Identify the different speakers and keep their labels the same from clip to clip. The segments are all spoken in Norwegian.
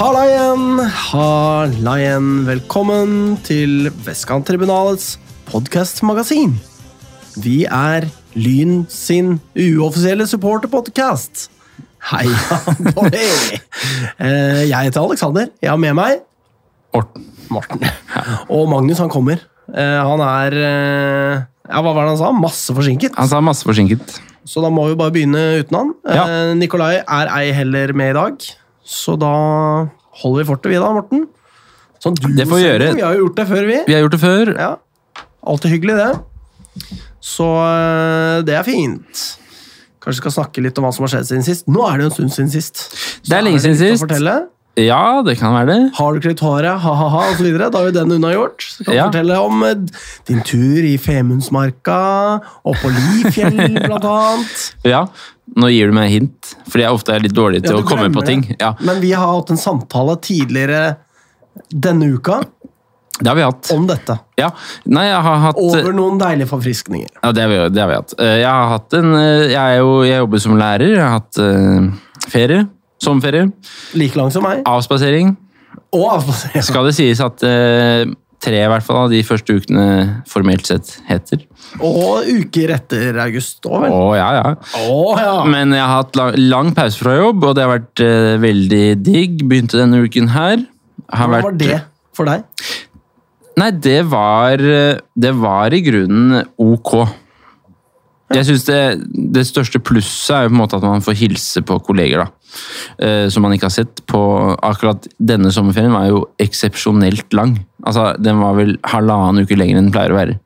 Speaker 1: Halla igjen, halla igjen. Velkommen til Vestkanttribunalets podcastmagasin. Vi er Lyn sin uoffisielle supporterpodkast. Heia på det! Eh, Jeg heter Alexander. Jeg har med meg
Speaker 2: Morten.
Speaker 1: Morten. Og Magnus, han kommer. Eh, Han er eh, ja, Hva var det han sa? Masse forsinket.
Speaker 2: Han sa masse forsinket.
Speaker 1: Så da må vi bare begynne uten han.
Speaker 2: Ja.
Speaker 1: Eh, Nikolai er ei heller med i dag, så da holder vi fortet, vi da, Morten. Sånn du
Speaker 2: Det får vi gjøre.
Speaker 1: Vi har jo gjort det før, vi.
Speaker 2: Vi har gjort det før.
Speaker 1: Ja. Alltid hyggelig, det. Så eh, det er fint. Kanskje skal snakke litt om hva som har skjedd siden sist. Nå er det jo en stund siden sist. Så
Speaker 2: Det er lenge siden
Speaker 1: litt å
Speaker 2: sist.
Speaker 1: fortelle.
Speaker 2: Ja, det kan være det.
Speaker 1: Har du klippet håret, ha-ha-ha osv. Da har vi den unnagjort. Så kan du
Speaker 2: Ja.
Speaker 1: fortelle om eh, din tur i Femundsmarka og på Lifjell, blant annet.
Speaker 2: Ja. Nå gir du meg hint, fordi jeg ofte er litt dårlig til
Speaker 1: Ja,
Speaker 2: å
Speaker 1: du
Speaker 2: komme på
Speaker 1: glemmer
Speaker 2: ting.
Speaker 1: det.
Speaker 2: Ja,
Speaker 1: Men vi har hatt en samtale tidligere denne uka
Speaker 2: Det har vi hatt.
Speaker 1: om dette.
Speaker 2: Ja. Nei, jeg har hatt
Speaker 1: Over noen deilige forfriskninger.
Speaker 2: Ja, det har vi, det har vi hatt. Eh, Jeg har hatt en eh, Jeg, er jo, jeg jobber som lærer. Jeg har hatt eh, ferie. Sommerferie.
Speaker 1: Like lang som meg.
Speaker 2: Avspasering.
Speaker 1: Og avspasering.
Speaker 2: Skal det sies at eh, tre i hvert fall av de første ukene formelt sett heter.
Speaker 1: Og uker etter august òg, vel.
Speaker 2: Å, ja, ja.
Speaker 1: Å, ja.
Speaker 2: Men jeg har hatt lang, lang pause fra jobb, og det har vært eh, veldig digg. Begynte denne uken her. Har
Speaker 1: Hva var
Speaker 2: vært-
Speaker 1: det for deg?
Speaker 2: Nei, det var, eh, det var i grunnen ok. Jeg synes det, det største plusset er jo på en måte at man får hilse på kolleger, da. Eh, som man ikke har sett på Akkurat denne sommerferien var jo eksepsjonelt lang. Altså, Den var vel halvannen uke lenger enn den pleier å være.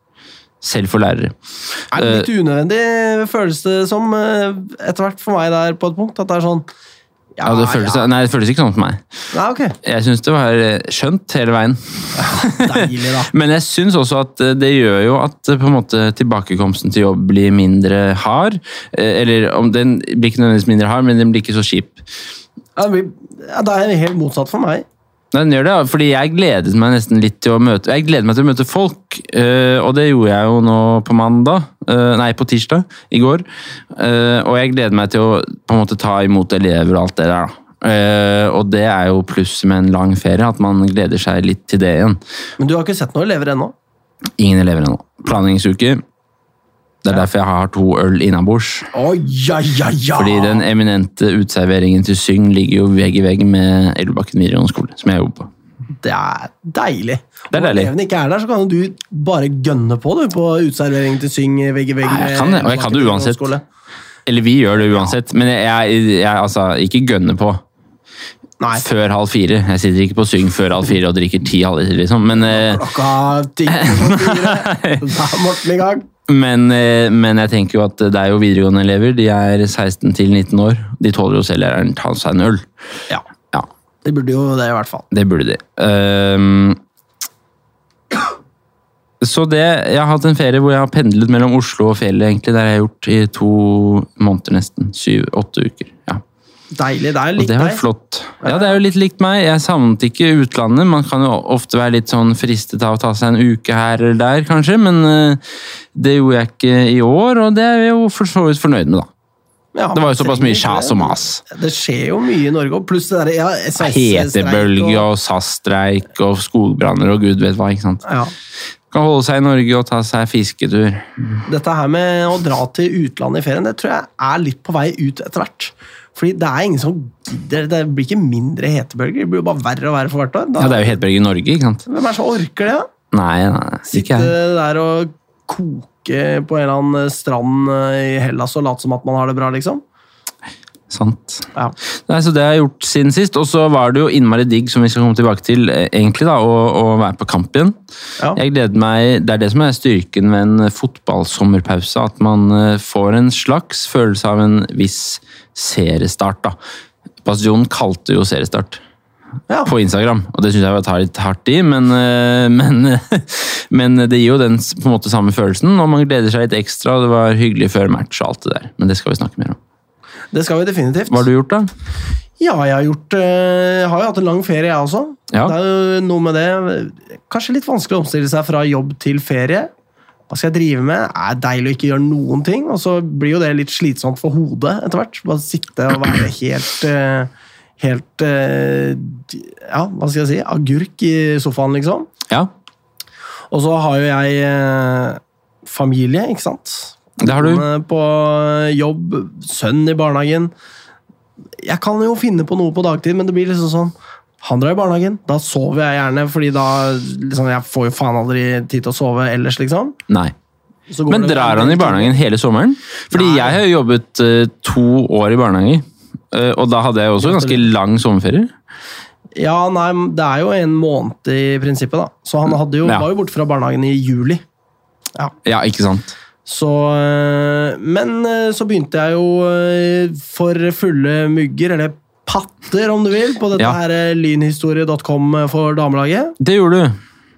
Speaker 2: Selv for lærere. Eh,
Speaker 1: Er det litt unødvendig, føles det som, eh, etter hvert for meg der på et punkt, at det er sånn
Speaker 2: Ja,
Speaker 1: Ah,
Speaker 2: det føles, Nei, det føles ikke sånn for meg.
Speaker 1: Nei, ok.
Speaker 2: Jeg syns det var eh, skjønt hele veien.
Speaker 1: Deilig, da.
Speaker 2: Men jeg syns også at eh, det gjør jo at eh, på en måte, tilbakekomsten til jobb blir mindre hard. Eh, Eller om den blir ikke nødvendigvis mindre hard, men den blir ikke så kjip.
Speaker 1: Ja, vi- ja, Det er helt motsatt for meg.
Speaker 2: Nei, Den gjør det, ja, fordi jeg gledet meg nesten litt til å møte Jeg gleder meg til å møte folk, eh, og det gjorde jeg jo nå på mandag. eh, Nei, på tirsdag i går. Eh, Og jeg gleder meg til å på en måte ta imot elever og alt det der. da. Eh, Og det er jo plusset med en lang ferie, at man gleder seg litt til det igjen.
Speaker 1: Men du har ikke sett noen elever ennå?
Speaker 2: Ingen elever ennå. Planleggingsuke. Det er derfor jeg har to øl innabords.
Speaker 1: Å, ja, ja, ja!
Speaker 2: Fordi den eminente uteserveringen til Syng ligger jo vegg i vegg med Elvebakken videregående skole, som jeg jobber på.
Speaker 1: Det er deilig.
Speaker 2: Det er
Speaker 1: Når
Speaker 2: deilig.
Speaker 1: elevene ikke er der, så kan jo du bare gønne på du, på uteserveringen til Syng sånn vegg i vegg.
Speaker 2: Nei, jeg
Speaker 1: med
Speaker 2: kan det, og jeg kan det uansett.
Speaker 1: skole.
Speaker 2: Eller vi gjør det uansett, men jeg, jeg, jeg altså, ikke gønner på
Speaker 1: Nei,
Speaker 2: før halv fire. Jeg sitter ikke på Syng før halv fire og drikker ti halvliter, liksom. Men, eh,
Speaker 1: klokka ti på fire. Da er Morten i gang.
Speaker 2: men, eh, men jeg tenker jo at det er jo videregående elever. De er 16 til 19 år. De tåler jo selv læreren ta seg en øl.
Speaker 1: Ja,
Speaker 2: Ja,
Speaker 1: det burde jo det, i hvert fall.
Speaker 2: Det burde de. Ehm, så det, jeg har hatt en ferie hvor jeg har pendlet mellom Oslo og fjellet, egentlig. Der jeg har gjort i to måneder nesten. Syv-åtte uker. Ja.
Speaker 1: Deilig. Det er
Speaker 2: Og
Speaker 1: litt
Speaker 2: det har vært flott. Ja, det er jo litt likt meg. Jeg savnet ikke utlandet. Man kan jo ofte være litt sånn fristet av å ta seg en uke her eller der, kanskje, men eh, det gjorde jeg ikke i år, og det er jeg jo for så vidt fornøyd med, da.
Speaker 1: Ja,
Speaker 2: Det var jo såpass mye
Speaker 1: trenger ikke
Speaker 2: kjas og mas.
Speaker 1: det. Det skjer jo mye i Norge, og pluss det derre ja, SS
Speaker 2: Hetebølge og SAS-streik og skogbranner og gud vet hva, ikke sant.
Speaker 1: ja.
Speaker 2: Kan holde seg i Norge og ta seg fisketur.
Speaker 1: Dette her med å dra til utlandet i ferien, det tror jeg er litt på vei ut etter hvert. Fordi det er ingen som gidder. Det blir ikke mindre hetebølger, det blir jo bare verre og verre for hvert år. Da,
Speaker 2: Ja, Det er jo Hedberg i Norge, ikke sant?
Speaker 1: Hvem er det som orker det? da?
Speaker 2: Nei, nei, ikke
Speaker 1: Sitte
Speaker 2: jeg.
Speaker 1: der og koke på en eller annen strand eh, i Hellas og late som at man har det bra, liksom.
Speaker 2: Sant.
Speaker 1: Ja.
Speaker 2: Nei, så Det har jeg gjort siden sist. Og så var det jo innmari digg som vi skal komme tilbake til, eh, egentlig da, å, å være på kamp igjen.
Speaker 1: Ja.
Speaker 2: Jeg gleder meg, Det er det som er styrken ved en fotballsommerpause. At man eh, får en slags følelse av en viss seriestart. da. Bastion kalte jo seriestart.
Speaker 1: Ja.
Speaker 2: på Instagram, og det syns jeg var tar litt hardt i, men, øh, men, øh, men det gir jo den s- på en måte samme følelsen, og man gleder seg litt ekstra, og det var hyggelig før match og alt det der, men det skal vi snakke mer om.
Speaker 1: Det skal vi definitivt.
Speaker 2: Hva har du gjort da?
Speaker 1: Ja, jeg har gjort eh, Har jo hatt en lang ferie, jeg også.
Speaker 2: Ja.
Speaker 1: Det er jo noe med det. Kanskje litt vanskelig å omstille seg fra jobb til ferie. Hva skal jeg drive med? Det er deilig å ikke gjøre noen ting. Og så blir jo det litt slitsomt for hodet etter hvert. Bare sitte og være helt eh, helt eh, Ja, hva skal jeg si? Agurk i sofaen, liksom.
Speaker 2: Ja,
Speaker 1: Og så har jo jeg eh, familie, ikke sant?
Speaker 2: det har du.
Speaker 1: Kone Sånn, eh, På jobb, sønn i barnehagen. Jeg kan jo finne på noe på dagtid, men det blir liksom sånn Han drar i barnehagen, da sover jeg gjerne, fordi da liksom, Jeg får jo faen aldri tid til å sove ellers, liksom.
Speaker 2: Nei.
Speaker 1: Så går
Speaker 2: Men
Speaker 1: det-
Speaker 2: drar han i barnehagen hele sommeren? Fordi
Speaker 1: Nei.
Speaker 2: jeg har jo jobbet eh, to år i barnehage, eh, og da hadde jeg jo også en ganske lang sommerferie.
Speaker 1: Ja, nei, men det er jo en måned i prinsippet, da. Så han hadde jo,
Speaker 2: Ja.
Speaker 1: var jo borte fra barnehagen i juli.
Speaker 2: Ja, ikke sant?
Speaker 1: Så øh, Men øh, så begynte jeg jo øh, for fulle mugger, eller patter om du vil, på dette
Speaker 2: Ja.
Speaker 1: her øh, lynhistorie.com eh, for damelaget.
Speaker 2: Det gjorde du.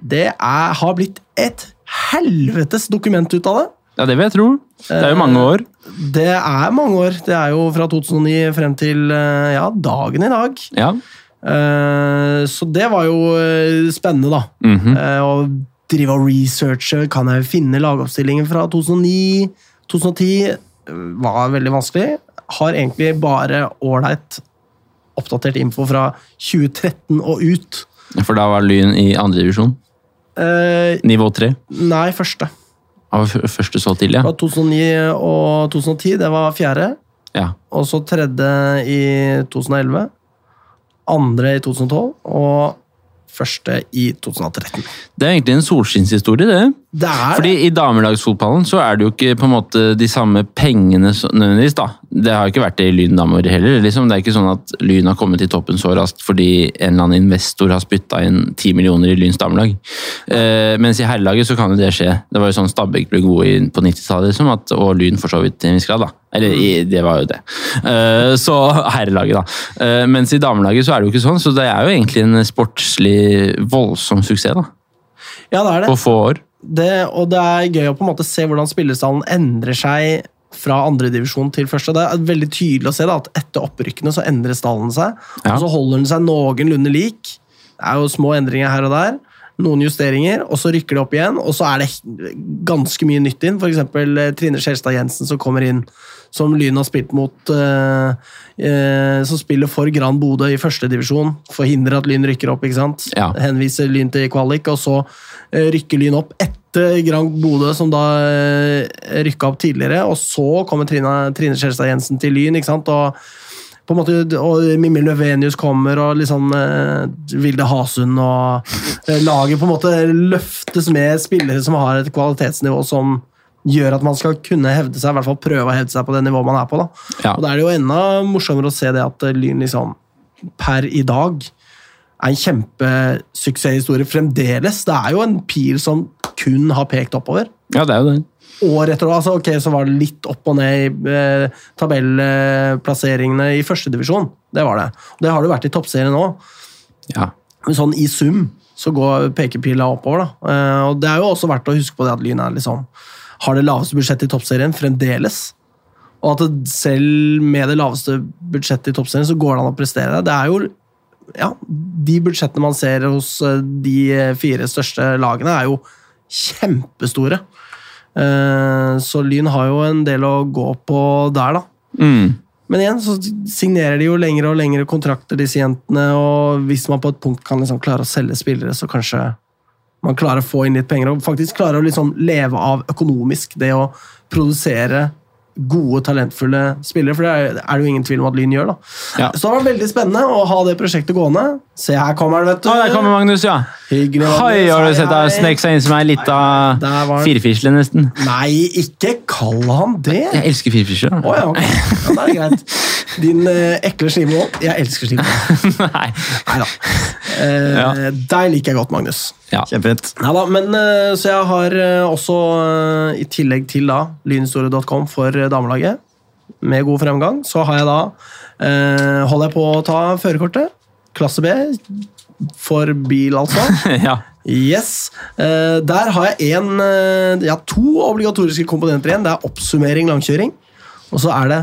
Speaker 1: Det er, har blitt et helvetes dokument ut av det.
Speaker 2: Ja, det vil jeg tro. Det er jo mange
Speaker 1: Eh.
Speaker 2: år.
Speaker 1: Det er mange år. Det er jo fra 2009 frem til øh, ja, dagen i dag.
Speaker 2: Ja.
Speaker 1: Eh, Så det var jo øh, spennende, da.
Speaker 2: Mhm.
Speaker 1: Eh, og drive og researche. Kan jeg finne lagoppstillingen fra 2009? 2010 Eh, var veldig vanskelig. Har egentlig bare ålreit oppdatert info fra 2013 og ut.
Speaker 2: For da var Lyn i andre divisjon.
Speaker 1: Eh,
Speaker 2: Nivå tre.
Speaker 1: nei, første.
Speaker 2: Av f- første så til, ja.
Speaker 1: Fra 2009 og 2010, det var fjerde.
Speaker 2: ja.
Speaker 1: Og så tredje i 2011. Andre i 2012, og første i 2013.
Speaker 2: Det er egentlig en solskinnshistorie, det.
Speaker 1: Det er
Speaker 2: Fordi i damelagsfotballen så er det jo ikke på en måte de samme pengene så- nødvendigvis, da. Det har jo ikke vært det i Lyn damer heller. liksom. Det er ikke sånn at Lyn har kommet i toppen så raskt fordi en eller annen investor har spytta inn 10 millioner i Lyns damelag. Eh, mens i herrelaget så kan jo det skje. Det var jo sånn Stabæk ble gode i- på 90-tallet, liksom, at- og Lyn for så vidt til en viss grad, da. Eller i- det var jo det. Eh, så herrelaget, da. Eh, mens i damelaget så er det jo ikke sånn, så det er jo egentlig en sportslig voldsom suksess, da.
Speaker 1: Ja, det er det.
Speaker 2: På få år.
Speaker 1: det, og det er gøy å på en måte se hvordan spillestallen endrer seg fra andredivisjon til første. Det er veldig tydelig å se da, at etter opprykkene så endrer stallen seg.
Speaker 2: Ja.
Speaker 1: Og så holder den seg noenlunde lik. Det er jo små endringer her og der. Noen justeringer, og så rykker det opp igjen. Og så er det he- ganske mye nytt inn. F.eks. Trine Skjelstad Jensen som kommer inn, som Lyn har spilt mot. eh, eh, som spiller for Gran Bodø i førstedivisjon. Forhindrer at Lyn rykker opp, ikke sant?
Speaker 2: Ja.
Speaker 1: henviser Lyn til kvalik, og så eh, rykker Lyn opp etter Grand Bodø, som da eh, rykka opp tidligere. Og så kommer Trine, Trine Skjelstad Jensen til Lyn, ikke sant? og på en måte, og Mimmi Løvenius kommer, og liksom eh, Vilde Hasund og eh, Laget på en måte løftes med spillere som har et kvalitetsnivå som gjør at man skal kunne hevde seg, i hvert fall prøve å hevde seg på det nivået man er på. da.
Speaker 2: Ja.
Speaker 1: Og Da er det jo enda morsommere å se det at eh, Lyn liksom per i dag er en kjempesuksesshistorie fremdeles. Det er jo en pil som kun har pekt oppover
Speaker 2: ja, det er jo det.
Speaker 1: år etter år. Altså, ok, så var det litt opp og ned i eh, tabellplasseringene i førstedivisjon. Det var det. Og det har det jo vært i toppserien òg.
Speaker 2: Ja.
Speaker 1: Men sånn i sum så går pekepila oppover. da. Eh, og Det er jo også verdt å huske på det at Lyn er liksom, har det laveste budsjettet i toppserien fremdeles. Og at det, selv med det laveste budsjettet i toppserien så går det an å prestere. Det er jo ja, De budsjettene man ser hos eh, de fire største lagene, er jo kjempestore. Eh, Så Lyn har jo en del å gå på der, da.
Speaker 2: Mm.
Speaker 1: Men igjen så signerer de jo lengre og lengre kontrakter, disse jentene. Og hvis man på et punkt kan liksom klare å selge spillere, så kanskje man klarer å få inn litt penger. Og faktisk klarer å liksom leve av økonomisk det å produsere gode, talentfulle spillere. For det er, er det jo ingen tvil om at Lyn gjør, da.
Speaker 2: Ja.
Speaker 1: Så det var veldig spennende å ha det prosjektet gående. Se, her kommer han, vet du.
Speaker 2: Å, der kommer Magnus, ja.
Speaker 1: Hyggelig. Magnus.
Speaker 2: Hei, har du sett
Speaker 1: Hei,
Speaker 2: deg
Speaker 1: hei.
Speaker 2: snek seg inn som ei lita
Speaker 1: Der var han.
Speaker 2: firfisle, nesten?
Speaker 1: Nei, ikke kall han det!
Speaker 2: Jeg elsker firfisler.
Speaker 1: Å ja, ok. Ja, da er det greit. Din eh, ekle slime òg. Jeg elsker slime.
Speaker 2: Nei.
Speaker 1: Nei da. Eh, Deg liker jeg godt, Magnus.
Speaker 2: Ja.
Speaker 3: Kjempefint.
Speaker 1: Neida, men eh, Så jeg har eh, også, eh, i tillegg til da, lynhistorie.com for eh, damelaget, med god fremgang, så har jeg da eh, Holder jeg på å ta førerkortet. Klasse B. For bil, altså.
Speaker 2: ja.
Speaker 1: Yes. Eh, der har jeg en, eh, ja, to obligatoriske komponenter igjen. Det er oppsummering, langkjøring, og så er det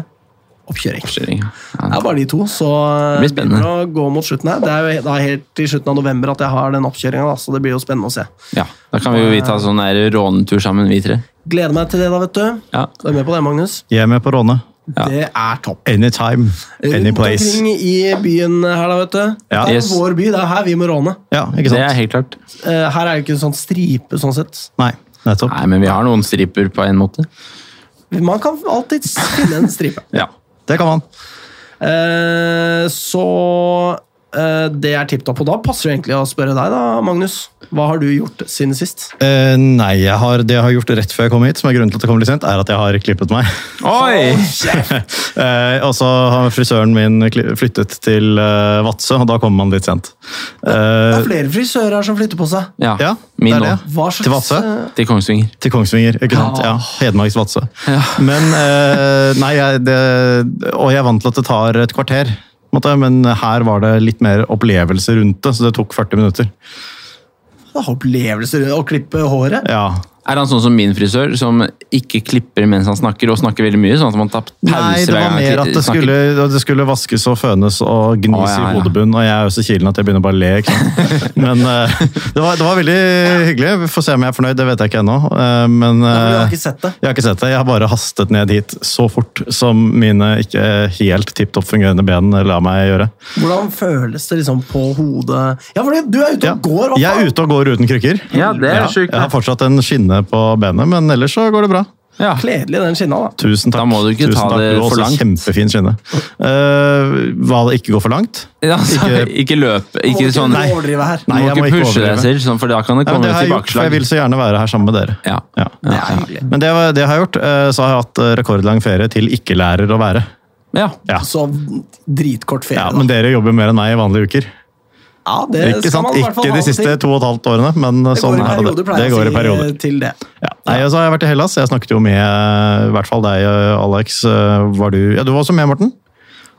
Speaker 1: oppkjøring.
Speaker 2: Kjøring, ja.
Speaker 1: Det
Speaker 2: Ja.
Speaker 1: er bare de to, så eh,
Speaker 2: Det blir spennende.
Speaker 1: begynner å gå mot slutten her. Det er jo he- da helt til slutten av november at jeg har den oppkjøringa, så det blir jo spennende å se.
Speaker 2: ja. Da kan vi jo vi ta sånn der rånetur sammen, vi tre.
Speaker 1: Gleder meg til det, da, vet du.
Speaker 2: Ja.
Speaker 1: Du er med på det, Magnus?
Speaker 3: Jeg er med på Råne.
Speaker 1: Det er topp.
Speaker 3: Anytime,
Speaker 1: Rundt
Speaker 3: anyplace.
Speaker 1: omkring i byen her, da, vet du.
Speaker 3: Ja.
Speaker 1: Det er
Speaker 2: Yes.
Speaker 1: vår by. Det er her vi må råne.
Speaker 3: Ja, ikke
Speaker 2: Det er
Speaker 3: sant?
Speaker 2: helt klart.
Speaker 1: Eh, Her er jo ikke en sånn stripe, sånn sett.
Speaker 3: Nei, nettopp.
Speaker 2: Nei, men vi har noen striper på en måte.
Speaker 1: Man kan alltid finne en stripe.
Speaker 2: Ja.
Speaker 3: Det kan man.
Speaker 1: Eh, Så eh, det er tipp topp. Og da passer det egentlig å spørre deg, da, Magnus. Hva har du gjort siden sist?
Speaker 3: Eh, nei, jeg har, det jeg har gjort rett før jeg kom hit, som er grunnen til at jeg kom litt sent, er at jeg har klippet meg.
Speaker 2: Oi!
Speaker 3: Eh, og så har frisøren min kli- flyttet til eh, Vadsø, og da kommer man litt sent.
Speaker 1: Det
Speaker 3: Eh,
Speaker 1: er flere frisører her som flytter på seg.
Speaker 2: Ja,
Speaker 3: Ja,
Speaker 2: min
Speaker 3: det er
Speaker 2: nå.
Speaker 3: det.
Speaker 1: Hva slags
Speaker 3: Til Vadsø?
Speaker 1: eh,
Speaker 2: Til Kongsvinger.
Speaker 3: Til Kongsvinger, ikke sant? Ja, Hedmarks Vadsø. Men eh, nei, jeg, det, og jeg er vant til at det tar et kvarter, på en måte, men her var det litt mer opplevelse rundt det, så det tok 40 minutter.
Speaker 1: opplevelser å klippe håret?
Speaker 3: Ja.
Speaker 2: Er han sånn som min frisør, som ikke klipper mens han snakker, og snakker veldig mye? sånn at man tar pause
Speaker 3: Nei,
Speaker 2: hver
Speaker 3: det var
Speaker 2: gang han
Speaker 3: mer at det
Speaker 2: snakker?
Speaker 3: skulle, det skulle vaskes og fønes og gnis
Speaker 2: Å, ja,
Speaker 3: i
Speaker 2: ja.
Speaker 3: hodebunnen, og jeg er jo så kilen at jeg begynner bare å le. Ikke sant? Men eh, det, var, det var veldig hyggelig. Vi får se om jeg er fornøyd, det vet jeg ikke ennå. eh, men
Speaker 1: Du har
Speaker 3: eh,
Speaker 1: ikke sett det?
Speaker 3: Jeg har ikke sett det. Jeg har bare hastet ned hit så fort som mine ikke helt tipp topp fungerende ben la meg gjøre.
Speaker 1: Hvordan føles det liksom på hodet Ja, for du er ute
Speaker 3: Ja.
Speaker 1: og går! Hva
Speaker 3: Jeg er
Speaker 1: faen?
Speaker 3: ute og går uten krykker.
Speaker 2: Ja, det er
Speaker 3: Ja,
Speaker 2: sjukt,
Speaker 3: Jeg
Speaker 2: da.
Speaker 3: har fortsatt en skinne på benet, men ellers så går det bra.
Speaker 2: Ja.
Speaker 1: Kledelig, den skinna, da.
Speaker 3: Tusen takk.
Speaker 2: Da må du ikke
Speaker 3: Tusen
Speaker 2: ta
Speaker 3: takk.
Speaker 2: det
Speaker 3: Du har
Speaker 2: for
Speaker 3: også
Speaker 2: langt.
Speaker 3: Kjempefin skinne. Eh, hva det ikke går for langt?
Speaker 2: Ja, altså, ikke, løpe
Speaker 1: Må
Speaker 2: ikke
Speaker 1: ikke
Speaker 2: sånn,
Speaker 1: du overdrive her.
Speaker 2: Du
Speaker 3: Nei,
Speaker 2: må
Speaker 3: jeg må
Speaker 2: ikke
Speaker 3: ikke
Speaker 2: pushe deg
Speaker 3: overdrive.
Speaker 2: selv, sånn, for da kan det
Speaker 3: Ja, men
Speaker 2: komme
Speaker 3: det har jeg gjort, for jeg
Speaker 2: tilbakeslag.
Speaker 3: vil så gjerne være her sammen med dere.
Speaker 2: Ja.
Speaker 3: Ja.
Speaker 1: Det er hyggelig.
Speaker 3: Men det, var- det har jeg gjort. eh, Så har jeg hatt eh, rekordlang ferie til ikke-lærer å være.
Speaker 2: Ja.
Speaker 3: Ja.
Speaker 1: Så dritkort ferie,
Speaker 3: ja,
Speaker 1: da.
Speaker 3: Men dere jobber mer enn meg i vanlige uker.
Speaker 1: Ja, det
Speaker 3: Ikke,
Speaker 1: skal
Speaker 3: sant?
Speaker 1: man i hvert fall
Speaker 3: ikke
Speaker 1: ha
Speaker 3: de
Speaker 1: det til.
Speaker 3: siste to og et halvt årene, men
Speaker 1: Det går
Speaker 3: sånn
Speaker 1: i
Speaker 3: er
Speaker 1: perioder,
Speaker 3: det.
Speaker 1: pleier
Speaker 3: Det
Speaker 1: jeg å
Speaker 3: går i
Speaker 1: si
Speaker 3: perioder.
Speaker 1: eh, til det.
Speaker 3: Ja. Nei, og så har jeg vært i Hellas. Jeg snakket jo med eh, i hvert fall deg, eh, Alex. eh, Var du Ja, du var også med, Morten.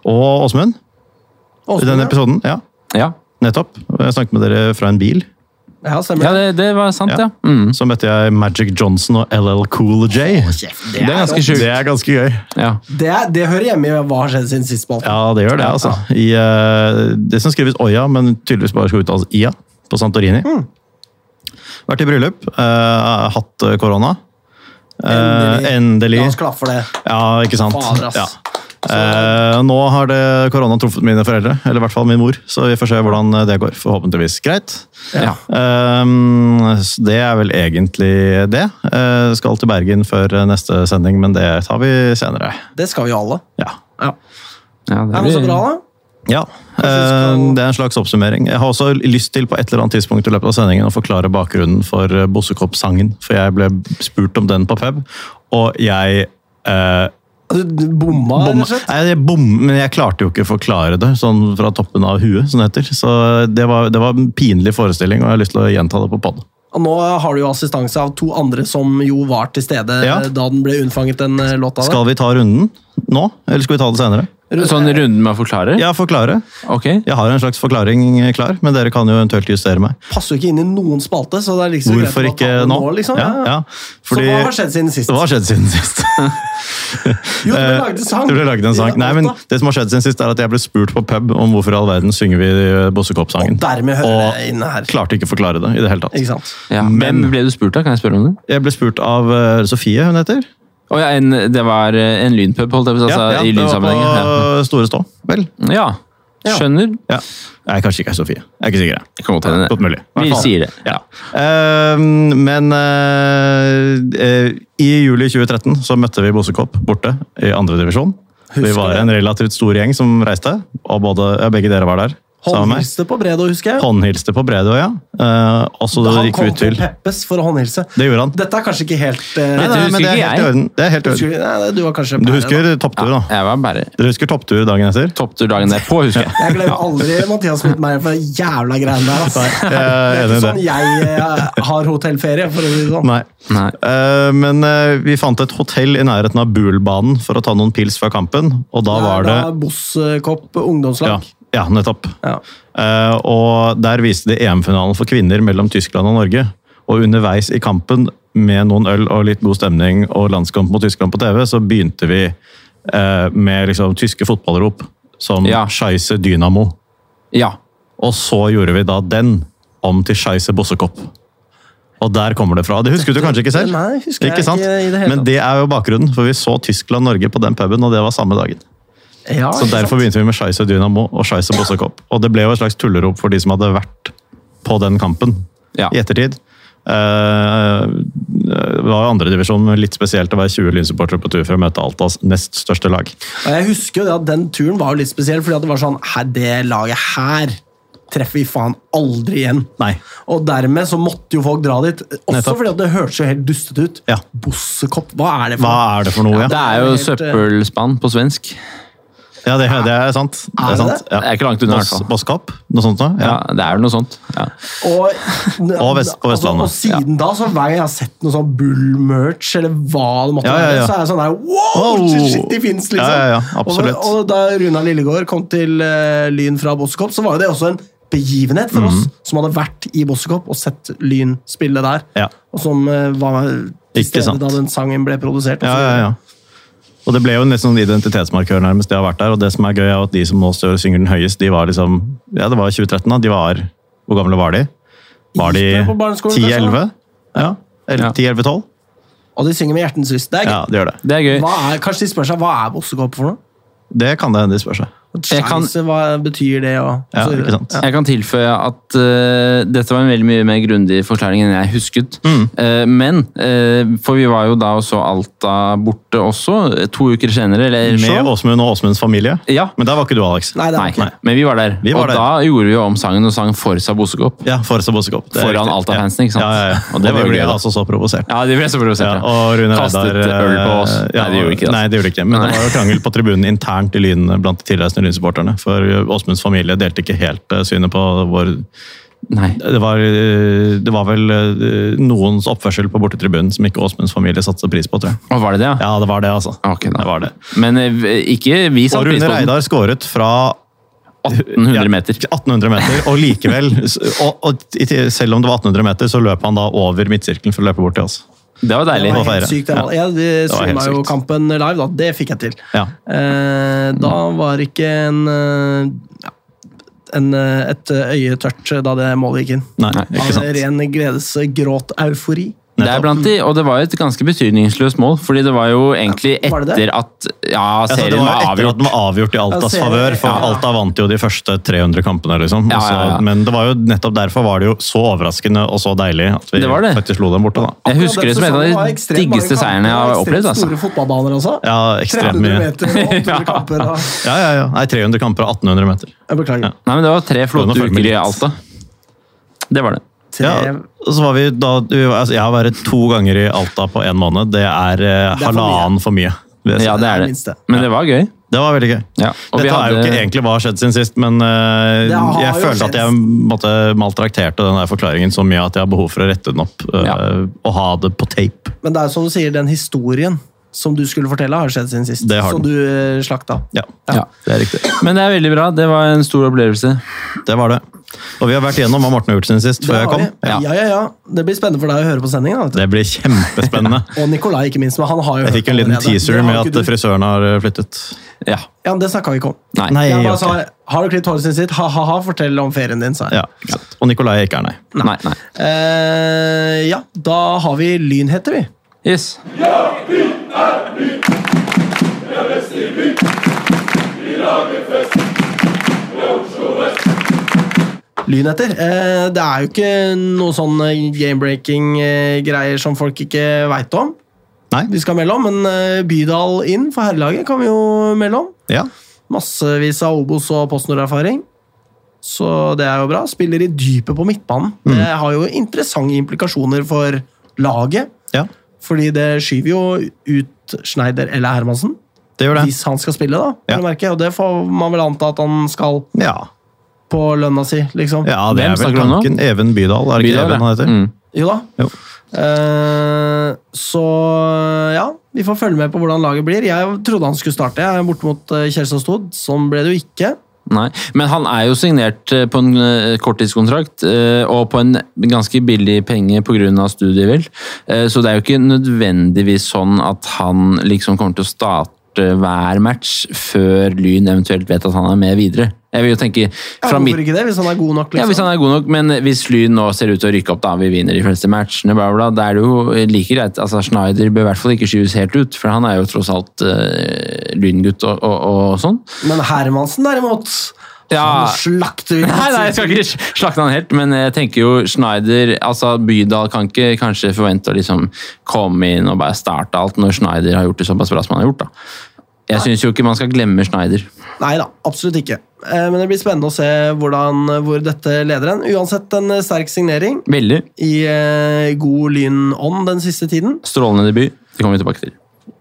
Speaker 3: Og Åsmund. I
Speaker 1: Åsmund,
Speaker 3: denne
Speaker 1: ja.
Speaker 3: episoden. Ja,
Speaker 2: Ja,
Speaker 3: nettopp. Jeg snakket med dere fra en bil.
Speaker 1: Ja, stemmer
Speaker 2: ja det, det var sant, ja.
Speaker 3: Ja.
Speaker 2: Mm.
Speaker 3: Så møtte jeg Magic Johnson og LL Cool J.
Speaker 1: Kjeft,
Speaker 2: Det er ganske sjukt.
Speaker 3: Det er ganske gøy.
Speaker 2: Ja.
Speaker 1: Det, er- det hører hjemme i hva har skjedd siden sist. Spalt.
Speaker 3: Ja, det gjør det, altså. I, eh, det som skrives Oya, men tydeligvis bare skal uttales Ia på Santorini. Vært i bryllup. eh, hatt eh, korona. Eh, endelig.
Speaker 1: La oss klappe for det.
Speaker 3: Ja, ikke sant.
Speaker 1: Fader, ass.
Speaker 3: Ja. Eh, nå har det korona truffet mine foreldre, eller i hvert fall min mor. Så vi får se hvordan eh, det går. Forhåpentligvis greit.
Speaker 2: Ja.
Speaker 3: Ehm, så det er vel egentlig det. Eh, skal til Bergen før eh, neste sending, men det tar vi senere.
Speaker 1: Det skal vi jo alle.
Speaker 3: Ja.
Speaker 1: Ja.
Speaker 2: Ja,
Speaker 1: Er det så bra, da?
Speaker 3: Ja,
Speaker 1: vi
Speaker 3: eh,
Speaker 1: skal-
Speaker 3: det er en slags oppsummering. Jeg har også lyst til på et eller annet tidspunkt i løpet av sendingen å forklare bakgrunnen for eh, Bossekopp-sangen, for jeg ble spurt om den på pub, og jeg eh,
Speaker 1: Du Altså, du bomma, rett
Speaker 3: bomma.
Speaker 1: og slett?
Speaker 3: Nei, jeg bom, men jeg klarte jo ikke å forklare det sånn fra toppen av huet, som det heter. Så det var, det var en pinlig forestilling, og jeg har lyst til å gjenta det på pod.
Speaker 1: Og nå har du jo assistanse av to andre som jo var til stede
Speaker 3: Ja.
Speaker 1: eh, da den ble unnfanget, den eh, låta der.
Speaker 3: Skal vi ta runden nå, eller skal vi ta det senere?
Speaker 2: Sånn runden med å forklare?
Speaker 3: Ja, forklare.
Speaker 2: Ok.
Speaker 3: Jeg har en slags forklaring eh, klar, men dere kan jo eventuelt justere meg.
Speaker 1: Passer jo ikke inn i noen spalte, så det er liksom greit å
Speaker 3: Hvorfor
Speaker 1: ta
Speaker 3: ikke
Speaker 1: den
Speaker 3: nå?
Speaker 1: liksom.
Speaker 3: Ja, ja. Fordi,
Speaker 1: Så hva har skjedd siden sist?
Speaker 3: Hva har skjedd siden sist?
Speaker 1: Jo, du ble laget en sang.
Speaker 3: Det ble laget en sang.
Speaker 1: Ja,
Speaker 3: Nei, men
Speaker 1: alt da.
Speaker 3: det som har skjedd siden sist, er at jeg ble spurt på pub om hvorfor i all verden synger vi eh, Bossekopp-sangen.
Speaker 1: Og dermed hører
Speaker 3: Og
Speaker 1: det inne her.
Speaker 3: klarte ikke å forklare det i det hele
Speaker 1: Ikke
Speaker 3: tatt.
Speaker 1: sant?
Speaker 2: Ja. Hvem
Speaker 3: Men-
Speaker 2: ble du spurt av? Kan jeg spørre om det?
Speaker 3: Jeg ble spurt av eh, Sofie, hun heter.
Speaker 2: Å ja, en, det var eh, en lynpub, holdt jeg på å si. Altså, I
Speaker 3: det var
Speaker 2: lynsammenhengen. Ja. Mm,
Speaker 3: på Store Stå. Vel.
Speaker 2: Ja.
Speaker 1: Ja.
Speaker 2: Skjønner.
Speaker 3: Ja. Nei, kanskje ikke er Sofie. Jeg er ikke sikker. jeg.
Speaker 2: Det kan godt hende.
Speaker 3: Godt mulig. I hvert
Speaker 2: Vi
Speaker 3: fall.
Speaker 2: sier det. Ja.
Speaker 3: Eh, men eh, eh, i juli 2013 så møtte vi Bosekopp borte i andre divisjon. Vi
Speaker 1: Husker
Speaker 3: var
Speaker 1: det.
Speaker 3: en relativt stor gjeng som reiste, og både, ja, begge dere var der. sammen med meg.
Speaker 1: Håndhilste på Bredo, husker jeg.
Speaker 3: Håndhilste på Bredøya. Ja. Eh, og så
Speaker 1: Han
Speaker 3: gikk
Speaker 1: kom
Speaker 3: vi
Speaker 1: på
Speaker 3: ut til
Speaker 1: Peppes for å håndhilse.
Speaker 3: Det gjorde han.
Speaker 1: Dette er kanskje ikke helt eh,
Speaker 3: Nei,
Speaker 2: Dette
Speaker 3: nei,
Speaker 2: husker
Speaker 3: men det er
Speaker 2: ikke
Speaker 3: helt i
Speaker 2: jeg.
Speaker 3: orden. Det er helt i orden.
Speaker 1: husker, nei, nei, du var kanskje
Speaker 3: Du
Speaker 1: pære,
Speaker 3: husker
Speaker 1: da.
Speaker 3: topptur, da.
Speaker 2: Jeg var bare
Speaker 3: Dere husker topptur dagen etter?
Speaker 2: topptur dagen derpå, husker jeg.
Speaker 1: Jeg glemmer aldri Mathias mot meg for de jævla greiene der. Altså.
Speaker 3: Jeg
Speaker 1: Det er ikke
Speaker 3: er Eh, enig i det.
Speaker 1: sånn jeg eh, har hotellferie, for å si det sånn.
Speaker 3: Nei.
Speaker 2: Nei.
Speaker 3: Eh, men eh, vi fant et hotell i nærheten av Bulbanen for å ta noen pils før kampen, og da var det
Speaker 1: Da Bosskopp
Speaker 3: Ja,
Speaker 1: ungdomslag.
Speaker 3: ja nettopp.
Speaker 1: Ja.
Speaker 3: Eh, og der viste de EM-finalen for kvinner mellom Tyskland og Norge. Og underveis i kampen, med noen øl og litt god stemning og landskamp mot Tyskland på TV, så begynte vi eh, med liksom tyske fotballrop som
Speaker 2: Ja.
Speaker 3: Scheisse Dynamo.
Speaker 2: Ja.
Speaker 3: Og så gjorde vi da den om til Scheisse Bossekopp. Og Og der kommer det fra. Det husket du kanskje ikke selv?
Speaker 1: Nei, husker jeg
Speaker 3: ikke sant?
Speaker 1: ikke i det hele
Speaker 3: Men
Speaker 1: tatt.
Speaker 3: det er jo bakgrunnen, for vi så Tyskland-Norge på den puben, og det var samme dagen.
Speaker 1: Ja,
Speaker 3: Så
Speaker 1: ikke sant?
Speaker 3: derfor begynte vi med Scheisse Dynamo og Scheisse Bossekopp. Og det ble jo et slags tullerop for de som hadde vært på den kampen
Speaker 2: Ja.
Speaker 3: i ettertid. Eh, det var jo andredivisjon, men litt spesielt å være 20 lynsupportere på tur for å møte Altas nest største lag.
Speaker 1: Og jeg husker jo det at den turen var jo litt spesiell, fordi at det var sånn her, Det laget her treffer vi faen aldri igjen.
Speaker 3: Nei.
Speaker 1: Og dermed så måtte jo folk dra dit. Også
Speaker 3: Nettopp.
Speaker 1: fordi at det hørtes jo helt dustete ut.
Speaker 3: Ja.
Speaker 1: Bossekopp, hva er det for
Speaker 3: Hva
Speaker 1: noe?
Speaker 3: er det for noe, ja?
Speaker 2: Det er jo
Speaker 1: Det er helt, eh,
Speaker 2: søppelspann på svensk.
Speaker 3: Ja, det, det er sant. Det
Speaker 1: Er det
Speaker 3: er, sant.
Speaker 1: det?
Speaker 3: Ja.
Speaker 2: Det er ikke langt unna, i hvert
Speaker 3: Boss-
Speaker 2: fall.
Speaker 3: Bosskopp? Noe sånt noe?
Speaker 2: Ja,
Speaker 3: Ja.
Speaker 2: det er jo noe sånt. Ja.
Speaker 1: Og, altså,
Speaker 3: Og vest- på Vestlandet.
Speaker 1: og siden da, så hver gang jeg har sett noe sånn Bull-merch, eller hva det måtte
Speaker 3: Ja, ja, ja.
Speaker 1: være, så er jeg sånn der Wow!
Speaker 3: Wow!
Speaker 1: shit, Shit, de fins, liksom.
Speaker 3: Ja, ja, ja, absolutt.
Speaker 1: Og, og da Runa Lillegård kom til eh, Lyn fra Bossekopp, så var jo det også en begivenhet
Speaker 3: Mhm.
Speaker 1: for oss som hadde vært i Bossekopp og sett Lyn spille der.
Speaker 3: Ja.
Speaker 1: Og som eh, var til
Speaker 3: Ikke
Speaker 1: stede
Speaker 3: sant.
Speaker 1: da den sangen ble produsert. altså. og
Speaker 3: Ja,
Speaker 1: så
Speaker 3: ja,
Speaker 1: videre.
Speaker 3: ja. Og det ble jo en nesten sånn identitetsmarkør nærmest det har vært der, og det som er gøy er at de som nå står og synger den høyest, de var liksom, ja det var i 2013 da, de var, hvor gamle var de? Var de
Speaker 1: Gikk de på barneskolen, kanskje,
Speaker 3: 10-11? Ja,
Speaker 2: Ja.
Speaker 3: 10-11-12?
Speaker 1: Og de synger med hjertens lyst. Det er
Speaker 3: Ja,
Speaker 1: gøy.
Speaker 3: de gjør det.
Speaker 2: Det er gøy.
Speaker 1: Hva er, kanskje de spør seg hva er Bossekopp for noe?
Speaker 3: Det kan det hende de spør seg.
Speaker 2: Jeg kan-
Speaker 1: Scheisse, hva betyr det? Og, og
Speaker 3: Ja,
Speaker 1: så videre.
Speaker 3: ikke sant?
Speaker 2: Jeg kan tilføye at eh, dette var en veldig mye mer grundig forklaring enn jeg husket. Eh, men, eh, for vi var jo da og så Alta borte også, eh, to uker senere. Eller så.
Speaker 3: Med Åsmund og Åsmunds familie.
Speaker 2: Ja.
Speaker 3: Men der var ikke du, Alex.
Speaker 1: Nei, det er
Speaker 2: Nei,
Speaker 1: ikke.
Speaker 2: men vi var der.
Speaker 3: Vi var
Speaker 2: og
Speaker 3: der.
Speaker 2: da gjorde vi jo om sangen og sang Forsa Bosekopp.
Speaker 3: Ja, Forza Bosekopp. Det er
Speaker 2: Foran
Speaker 3: riktig.
Speaker 2: Alta-fansen, ikke sant?
Speaker 3: Ja, ja, ja.
Speaker 2: Og det var jo
Speaker 3: vi
Speaker 2: gøy,
Speaker 3: ble
Speaker 2: da.
Speaker 3: altså så provosert.
Speaker 2: Ja, de ble så provosert. ja.
Speaker 3: Ja, og Rune
Speaker 2: Kastet
Speaker 3: Reidar
Speaker 2: øl på oss.
Speaker 3: eh, ja,
Speaker 2: nei, de gjorde ikke det.
Speaker 3: Nei,
Speaker 2: altså.
Speaker 3: det gjorde de ikke. Men det var jo krangel på tribunen internt i Lyn blant de tilreisende Lyn-supporterne. For Åsmunds familie delte ikke helt eh, synet på vår
Speaker 2: Nei.
Speaker 3: Det var, eh, det var vel eh, noens oppførsel på bortetribunen som ikke Åsmunds familie satsa pris på, tror jeg.
Speaker 2: Og var det det, ja?
Speaker 3: Ja, det var det, altså.
Speaker 2: Ok, da.
Speaker 3: det var det.
Speaker 2: Men eh, ikke vi
Speaker 3: Og
Speaker 2: satte pris
Speaker 3: Rune
Speaker 2: på den.
Speaker 3: Reidar skåret fra
Speaker 2: 1800 meter.
Speaker 3: Ja, 1800 meter, og likevel s- og, og, i- Selv om det var 1800 meter, så løp han da over midtsirkelen for å løpe bort til oss.
Speaker 2: Det var
Speaker 1: Det
Speaker 2: deilig.
Speaker 1: var helt
Speaker 3: feire.
Speaker 1: sykt. det var-
Speaker 3: Ja.
Speaker 1: Jeg de
Speaker 3: var helt
Speaker 1: streama jo
Speaker 3: sykt.
Speaker 1: kampen live, da. Det fikk jeg til.
Speaker 3: Ja.
Speaker 1: Eh, da var ikke en, eh, ja, en eh, et øye tørt da det målet gikk inn.
Speaker 3: Nei,
Speaker 2: Nei.
Speaker 3: ikke
Speaker 1: Av
Speaker 3: sant.
Speaker 1: ren gledesgråt-eufori.
Speaker 2: Det er blant de, og det var jo et ganske betydningsløst mål, fordi det var jo egentlig
Speaker 1: Var det det?
Speaker 2: etter at ja,
Speaker 3: Altså,
Speaker 2: serien
Speaker 3: det var
Speaker 2: var
Speaker 3: jo etter at
Speaker 2: avgjort.
Speaker 3: den var avgjort i
Speaker 1: Ja,
Speaker 3: Altas
Speaker 1: serien-
Speaker 3: favør, for
Speaker 1: ja.
Speaker 3: Alta vant jo de første 300 kampene. liksom.
Speaker 2: Ja,
Speaker 3: Og så-
Speaker 2: ja, ja.
Speaker 3: Men det var jo nettopp derfor var det jo så overraskende og så deilig at vi
Speaker 2: Det var det.
Speaker 3: faktisk slo dem borte. da.
Speaker 2: Jeg husker det som en av de diggeste seierne jeg har opplevd. altså.
Speaker 1: Store fotballbaner også.
Speaker 3: Ja,
Speaker 1: 300
Speaker 3: ekstremt mye.
Speaker 1: meter og 800 kamper. Og,
Speaker 3: Ja, ja, ja. Nei, 300 kamper og 1800 meter.
Speaker 1: jeg beklager.
Speaker 2: Nei, men Det var tre flotte
Speaker 3: Prøv å følge
Speaker 2: uker
Speaker 3: med
Speaker 2: i
Speaker 3: litt.
Speaker 2: Alta. Det var det.
Speaker 1: Tre,
Speaker 3: Ja, og så var vi da, vi var- altså, Jeg har vært to ganger i Alta på én måned. Det er, eh,
Speaker 1: for mye.
Speaker 3: halvannen for mye. vil jeg si.
Speaker 2: Ja, det
Speaker 1: det er
Speaker 2: er
Speaker 1: minst det.
Speaker 2: det. Men det var gøy.
Speaker 3: Det var veldig gøy.
Speaker 2: Ja, og vi
Speaker 3: Dette er jo
Speaker 2: hadde-
Speaker 3: ikke egentlig hva har skjedd siden sist, men eh,
Speaker 1: Det har
Speaker 3: jeg
Speaker 1: jo
Speaker 3: følte
Speaker 1: skjedd.
Speaker 3: at jeg måtte, maltrakterte den der forklaringen så mye at jeg har behov for å rette den opp eh,
Speaker 2: Ja.
Speaker 3: og ha det på tape.
Speaker 1: Men det er jo som du sier, den historien som du skulle fortelle, har skjedd siden sist.
Speaker 3: Det har
Speaker 1: Som
Speaker 3: den.
Speaker 1: du eh, slakta.
Speaker 3: Ja,
Speaker 2: Ja.
Speaker 3: det er riktig.
Speaker 2: Men det er veldig bra. Det var en stor opplevelse.
Speaker 3: Det var det. Og vi har vært igjennom hva Morten har gjort siden sist, før
Speaker 1: Det
Speaker 3: jeg
Speaker 1: har
Speaker 3: kom.
Speaker 1: vi. Ja. ja, ja, Det blir spennende for deg å høre på sendingen. da, vet du.
Speaker 3: Det blir kjempespennende.
Speaker 1: Og Nikolai, ikke minst. Men han har jo
Speaker 3: Jeg
Speaker 1: hørt
Speaker 3: fikk en liten
Speaker 1: allerede.
Speaker 3: teaser
Speaker 1: Det har
Speaker 3: med
Speaker 1: jo
Speaker 3: at
Speaker 1: ikke du.
Speaker 3: frisøren har eh, flyttet.
Speaker 2: Ja.
Speaker 1: Ja, men Det snakka vi ikke om.
Speaker 2: Nei.
Speaker 3: Nei,
Speaker 1: Jeg bare
Speaker 3: ok.
Speaker 1: sa, Har du klippet håret sitt? Ha-ha-ha, fortell om ferien din, sa jeg.
Speaker 3: Ja, ikke sant. Og Nikolai ikke er nei.
Speaker 2: Nei. nei.
Speaker 1: Eh, ja, da har vi Lyn, heter vi.
Speaker 2: Yes.
Speaker 1: Lyn heter. Eh, det er jo ikke noe sånn game-breaking-greier som folk ikke veit om.
Speaker 3: Nei?
Speaker 1: Vi skal melde om, men eh, Bydal inn for herrelaget kan vi jo melde om.
Speaker 3: Ja.
Speaker 1: Massevis av Obos og PostNord-erfaring. Så det er jo bra. Spiller i dypet på midtbanen.
Speaker 3: Mm.
Speaker 1: Det har jo interessante implikasjoner for laget.
Speaker 3: ja.
Speaker 1: Fordi det skyver jo ut Schneider eller Hermansen.
Speaker 3: Det gjør det.
Speaker 1: Hvis han skal spille, da.
Speaker 3: Ja.
Speaker 1: vel å merke. Og det får man vel anta at han skal
Speaker 3: Ja.
Speaker 1: på lønna si, liksom.
Speaker 3: ja, det
Speaker 2: Hvem
Speaker 3: er vel
Speaker 2: snakker du om nå?
Speaker 3: tanken. Even Bydal, er det ikke
Speaker 2: Bydal, ja.
Speaker 3: Even han heter?
Speaker 2: Mm.
Speaker 1: Jo da.
Speaker 3: Jo.
Speaker 1: Eh, så ja, vi får følge med på hvordan laget blir. Jeg trodde han skulle starte, jeg er borte mot eh, Kjelsås Tod. Sånn ble det jo ikke.
Speaker 2: Nei. Men han er jo signert eh, på en eh, korttidskontrakt, eh, og på en ganske billig penge pga. studiet, vel. Eh, Så det er jo ikke nødvendigvis sånn at han liksom kommer til å starte hver match før Lyn eventuelt vet at han er med videre. Jeg vil jo tenke
Speaker 1: Ja,
Speaker 2: fra mitt
Speaker 1: hvorfor ikke liksom? det, hvis han er god nok?
Speaker 2: ja, Hvis han er god nok, liksom? men hvis Lyn nå ser ut til å rykke opp, da vi vinner de fleste matchene, bla, bla, bla, da er det jo like greit. Altså, Schneider bør i hvert fall ikke skyves helt ut, for han er jo tross alt uh, lyngutt og, og, og sånn.
Speaker 1: Men Hermansen, derimot
Speaker 2: Ja.
Speaker 1: Han slakter vi.
Speaker 2: Nei, nei, jeg skal ikke slakte han helt, men jeg tenker jo Schneider altså Bydal kan ikke kanskje forvente å liksom komme inn og bare starte alt når Schneider har gjort det såpass bra som han har gjort. da. Jeg syns jo ikke man skal glemme Schneider.
Speaker 1: Nei da, absolutt ikke. Eh, Men det blir spennende å se hvordan, eh, hvor dette leder hen. Uansett en eh, sterk signering
Speaker 2: Veldig
Speaker 1: i eh, god lynånd den siste tiden.
Speaker 2: strålende debut. Det kommer vi tilbake til.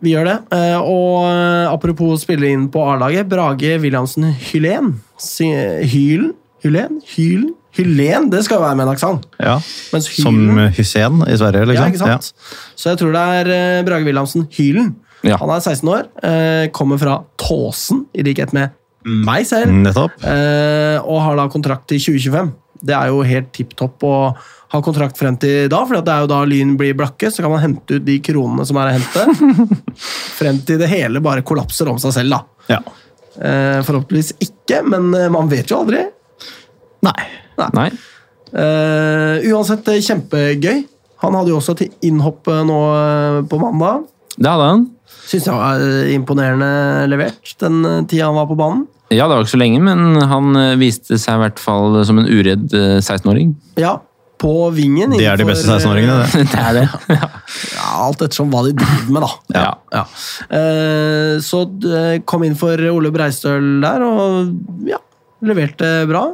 Speaker 1: Vi gjør det. Eh, Og eh, apropos spille inn på A-laget, Brage Williamsen Hylen. Si- Hylen? Hylen? Hylen? Hylen, det skal jo være med en aksent.
Speaker 3: Ja.
Speaker 1: Mens
Speaker 3: Som
Speaker 1: Hylen
Speaker 3: Hussein i Sverige,
Speaker 1: Ja,
Speaker 3: liksom.
Speaker 1: eh, ikke sant? Så jeg tror det er eh, Brage Wilhelmsen Hylen.
Speaker 2: Ja.
Speaker 1: Han er 16 år, eh, kommer fra Tåsen, i likhet med meg
Speaker 3: Ja.
Speaker 1: selv,
Speaker 3: Nettopp.
Speaker 1: eh, og har da kontrakt til 2025. Det er jo helt tipp topp å ha kontrakt frem til da, for det er jo da Lyn blir blakke, så kan man hente ut de kronene som er å hente. frem til det hele bare kollapser om seg selv, da.
Speaker 3: Ja.
Speaker 1: Eh, forhåpentligvis ikke, men eh, man vet jo aldri.
Speaker 3: Nei.
Speaker 2: Nei?
Speaker 1: Eh, uansett, eh, kjempegøy. Han hadde jo også et innhopp eh, nå eh, på mandag.
Speaker 2: Det hadde han.
Speaker 1: Syns jeg var eh, imponerende levert den eh, tida han var på banen.
Speaker 2: Ja, det var ikke så lenge, men han eh, viste seg i hvert fall som en uredd eh, 16-åring.
Speaker 1: Ja, på vingen.
Speaker 3: De er de
Speaker 1: innenfor,
Speaker 3: beste 16-åringene, det.
Speaker 2: Det er det. Ja.
Speaker 1: Ja, alt ettersom hva de driver med, da.
Speaker 2: Ja.
Speaker 1: Ja. Eh, så eh, kom inn for Ole Breistøl der, og ja, leverte bra.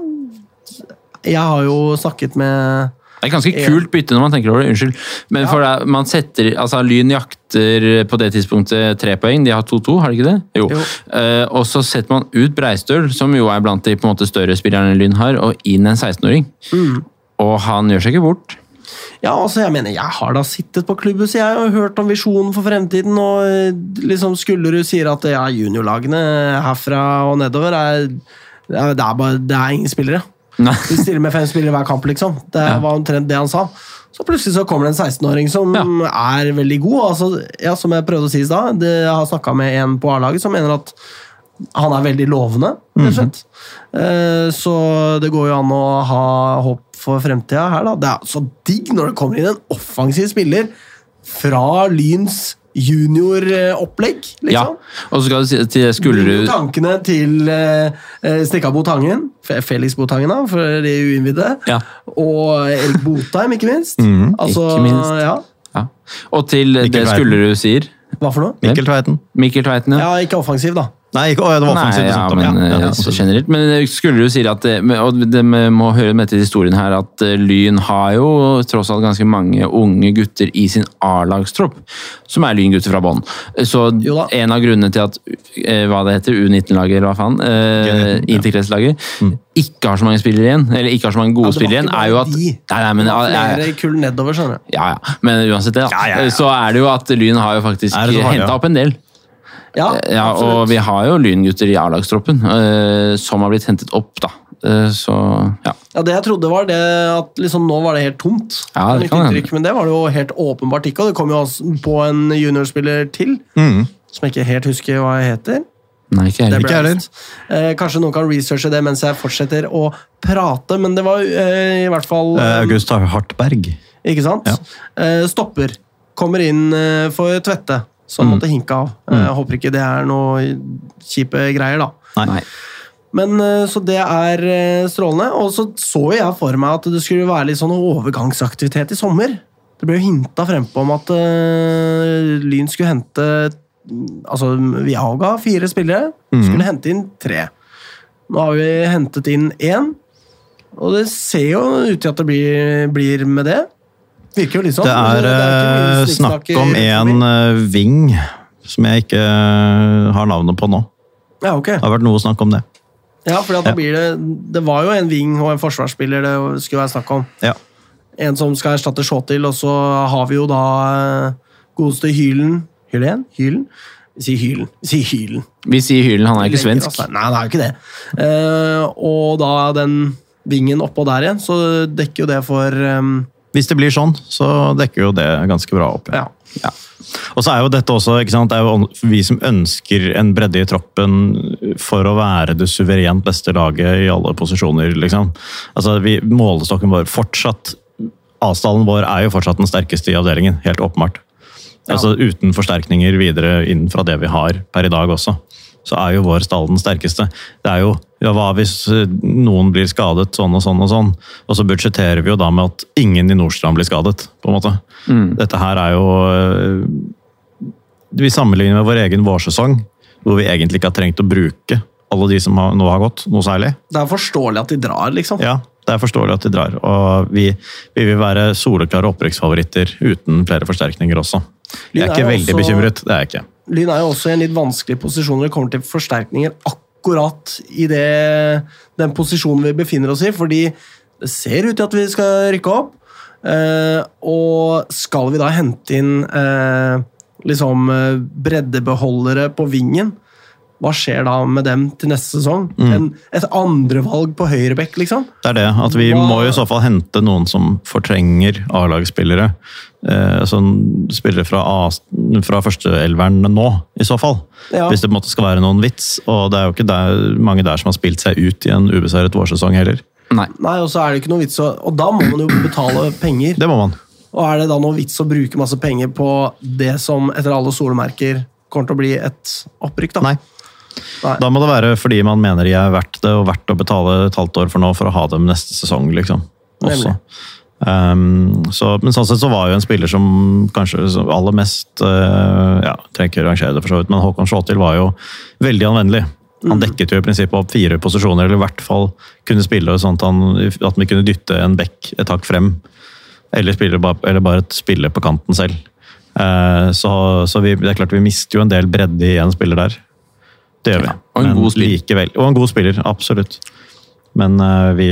Speaker 1: Jeg har jo snakket med
Speaker 2: Det er ganske kult bytte når man tenker over det. Unnskyld. Men for det, er- man setter, altså Lyn jakter på det tidspunktet tre poeng. De har 2-2, har de ikke det? Jo.
Speaker 1: Jo.
Speaker 2: Eh, og så setter man ut Breistøl, som jo er blant de på en måte større spillerne Lyn har, og inn en 16-åring. Og han gjør seg ikke bort.
Speaker 1: Ja, altså, jeg mener, jeg har da sittet på klubbhuset jeg og hørt om visjonen for fremtiden, og eh, liksom Skullerud sier at ja, juniorlagene herfra og nedover er det er, det er bare, det er ingen spillere.
Speaker 2: Nei.
Speaker 1: Vi stiller med fem spillere hver kamp, liksom. Det var omtrent det han sa. Så plutselig så kommer det en 16-åring som
Speaker 2: Ja.
Speaker 1: er veldig god. Altså, ja, som jeg prøvde å si i stad, det- jeg har snakka med en på A-laget som mener at han er veldig lovende, rett og slett. Eh, Så det går jo an å ha håp for fremtida her, da. Det er så digg når det kommer inn en offensiv spiller fra Lyns junioropplegg,
Speaker 2: Ja.
Speaker 1: liksom.
Speaker 2: Og så skal du si til
Speaker 1: Bring
Speaker 2: Skullerud
Speaker 1: tankene til uh, Stikka Botangen, Fe- Felix Botangen, da, for de uinnvidde.
Speaker 2: Ja. Mhm,
Speaker 1: Og Erik Botheim, ikke minst. altså,
Speaker 2: ikke minst.
Speaker 1: Ja,
Speaker 2: ja. Og til det
Speaker 3: Tveiten.
Speaker 2: Skullerud sier.
Speaker 1: hva for noe?
Speaker 3: Mikkel Tveiten.
Speaker 2: Mikkel Tveiten, ja.
Speaker 1: Ja, ikke offensiv, da.
Speaker 3: Nei, ikke, å, ja, det var offensivt.
Speaker 2: Nei,
Speaker 3: du
Speaker 2: ja,
Speaker 3: snakket om.
Speaker 2: men
Speaker 3: Ja, ja,
Speaker 2: eh,
Speaker 3: absolutt.
Speaker 2: generelt. Men skulle du si at det, men- og det vi må høre med til historien her at eh, Lyn har jo tross alt ganske mange unge gutter i sin A-lagstropp, som er Lyn-gutter fra bånn. Så
Speaker 1: Jo da.
Speaker 2: en av grunnene til at eh, hva det heter, U19-laget eller hva faen, eh,
Speaker 3: G19, ja. Mm.
Speaker 2: interkretslaget, ikke har så mange spillere igjen, eller ikke har så mange
Speaker 1: Ja,
Speaker 2: gode
Speaker 1: det var
Speaker 2: spillere igjen,
Speaker 1: ikke bare
Speaker 2: er jo at
Speaker 1: de.
Speaker 2: Nei, nei, men, eh,
Speaker 1: Flere kull nedover, skjønner du.
Speaker 2: ja, ja. men uansett det, da,
Speaker 3: Ja, ja, ja.
Speaker 2: så er det jo at Lyn har jo faktisk
Speaker 3: Er det så farlig,
Speaker 2: henta
Speaker 3: ja?
Speaker 2: opp en del.
Speaker 1: Ja,
Speaker 2: Ja,
Speaker 1: absolutt.
Speaker 2: og vi har jo lyngutter i A-lagstroppen eh, som har blitt hentet opp, da. Eh, så ja.
Speaker 1: ja, det jeg trodde var det at liksom nå var det helt tomt.
Speaker 2: Ja, det
Speaker 1: Mitt
Speaker 2: kan hende.
Speaker 1: inntrykk, Men det var det jo helt åpenbart ikke, og det kom jo også på en juniorspiller til.
Speaker 2: Mhm.
Speaker 1: Som jeg ikke helt husker hva jeg heter.
Speaker 2: Nei, ikke jeg
Speaker 1: Det
Speaker 2: heller.
Speaker 1: ble
Speaker 3: Ikke heller.
Speaker 1: angst. Eh, kanskje noen kan researche det mens jeg fortsetter å prate, men det var eh, i hvert fall
Speaker 3: Eh, August Hartberg.
Speaker 1: Ikke sant? Eh, stopper. Kommer inn eh, for Tvette, som
Speaker 3: Mm.
Speaker 1: måtte hinke av. Eh, jeg håper ikke det er noe kjipe greier, da.
Speaker 3: Nei.
Speaker 2: Nei.
Speaker 1: Men eh, Så det er eh, strålende. Og så så jo jeg for meg at det skulle være litt sånn overgangsaktivitet i sommer. Det ble jo hinta frempå om at eh, Lyn skulle hente Altså, Viaga, fire spillere,
Speaker 3: Mhm.
Speaker 1: skulle hente inn tre. Nå har vi hentet inn én, og det ser jo ut til at det blir, blir med det. Virker jo litt sånn.
Speaker 3: Det er eh,
Speaker 1: ikke mye
Speaker 3: snakk
Speaker 1: snikksnakk i-
Speaker 3: om en eh, ving som jeg ikke eh, har navnet på nå.
Speaker 1: Ja, ok.
Speaker 3: Det har vært noe snakk om det.
Speaker 1: Ja, for da blir det Det var jo en wing og en forsvarsspiller det skulle være snakk om.
Speaker 3: Ja.
Speaker 1: En som skal erstatte Shawtil, og så har vi jo da eh, godeste Hylen Hylen? Hylen? Vi sier Hylen. Vi sier Hylen.
Speaker 2: Vi sier Hylen, han er ikke
Speaker 1: Legger
Speaker 2: svensk.
Speaker 1: oss der. Nei, det er jo ikke det. Eh, og da den vingen oppå der igjen, så dekker jo det for eh,
Speaker 3: Hvis det blir sånn, så dekker jo det ganske bra opp.
Speaker 1: Ja.
Speaker 2: Ja.
Speaker 3: Og så er jo dette også, ikke sant, det er jo on- vi som ønsker en bredde i troppen for å være det suverent beste laget i alle posisjoner, liksom. Altså, vi, målestokken vår fortsatt, avstanden vår er jo fortsatt den sterkeste i avdelingen, helt åpenbart. Altså uten forsterkninger videre inn fra det vi har per i dag også, så er jo vår stall den sterkeste. Det er jo, ja, hva hvis eh, noen blir skadet sånn og sånn og sånn, og så budsjetterer vi jo da med at ingen i Nordstrand blir skadet, på en måte. Dette her er jo eh, vi sammenligner med vår egen vårsesong, hvor vi egentlig ikke har trengt å bruke alle de som har, nå har gått, noe særlig.
Speaker 1: Det er forståelig at de drar, liksom.
Speaker 3: Ja, det er forståelig at de drar, og vi, vi vil være soleklare opprykksfavoritter uten flere forsterkninger også. Jeg
Speaker 1: Lyn
Speaker 3: er
Speaker 1: er
Speaker 3: ikke
Speaker 1: jo
Speaker 3: veldig
Speaker 1: også-
Speaker 3: bekymret, det er jeg ikke.
Speaker 1: Lyn er jo også i en litt vanskelig posisjon når det kommer til forsterkninger akkurat i det, den posisjonen vi befinner oss i, fordi det ser ut til at vi skal rykke opp. Eh, og skal vi da hente inn eh, liksom eh, breddebeholdere på vingen? Hva skjer da med dem til neste sesong? En, et andrevalg på høyrebekk, liksom?
Speaker 3: Det er det, at vi
Speaker 1: Hva-
Speaker 3: må i så fall hente noen som fortrenger A-lagspillere. Eh, som spillere fra, A- fra førsteelveren nå, i så fall.
Speaker 1: Ja.
Speaker 3: Hvis det på en måte skal være noen vits, og det er jo ikke der, mange der som har spilt seg ut i en ubeseiret vårsesong heller.
Speaker 2: Nei.
Speaker 1: Nei, og så er det ikke noe vits å Og da må man jo betale penger.
Speaker 3: Det må man.
Speaker 1: Og er det da noe vits å bruke masse penger på det som etter alle solmerker kommer til å bli et opprykk, da?
Speaker 3: Nei.
Speaker 1: Nei.
Speaker 3: Da må det være fordi man mener de er verdt det, og verdt å betale et halvt år for nå for å ha dem neste sesong, liksom. Også.
Speaker 1: Nemlig.
Speaker 3: Um, så, men sånn sett så var jo en spiller som kanskje som aller mest uh, Ja, trenger ikke rangere det, for så vidt, men Håkon Slåtil var jo veldig anvendelig.
Speaker 1: Mm.
Speaker 3: Han dekket jo i prinsippet opp fire posisjoner, eller i hvert fall kunne spille sånn at, han, at vi kunne dytte en bekk et hakk frem. Eller, spille ba- eller bare spille på kanten selv. Eh, så så vi, det er klart vi mister jo en del bredde i en spiller der. Det gjør vi.
Speaker 2: Ja, og en
Speaker 3: Men
Speaker 2: god spiller.
Speaker 3: Likevel, og en god spiller, absolutt. Men eh, vi,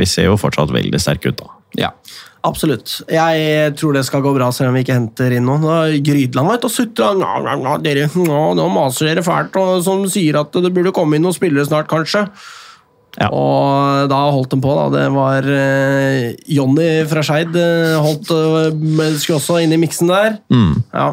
Speaker 3: vi ser jo fortsatt veldig sterke ut, da.
Speaker 2: Ja.
Speaker 1: Absolutt. Jeg tror det skal gå bra, selv om vi ikke henter inn noen. Da Grydland var ute og sutra. «Nå, nå, nå, dere, nå, nå maser dere fælt, og som sier at det burde komme inn noen spillere snart, kanskje.
Speaker 3: Ja.
Speaker 1: Og da holdt de på, da. Det var eh, Jonny fra Skeid eh, holdt, eh, men skulle også inn i miksen der.
Speaker 3: Mm.
Speaker 1: Ja,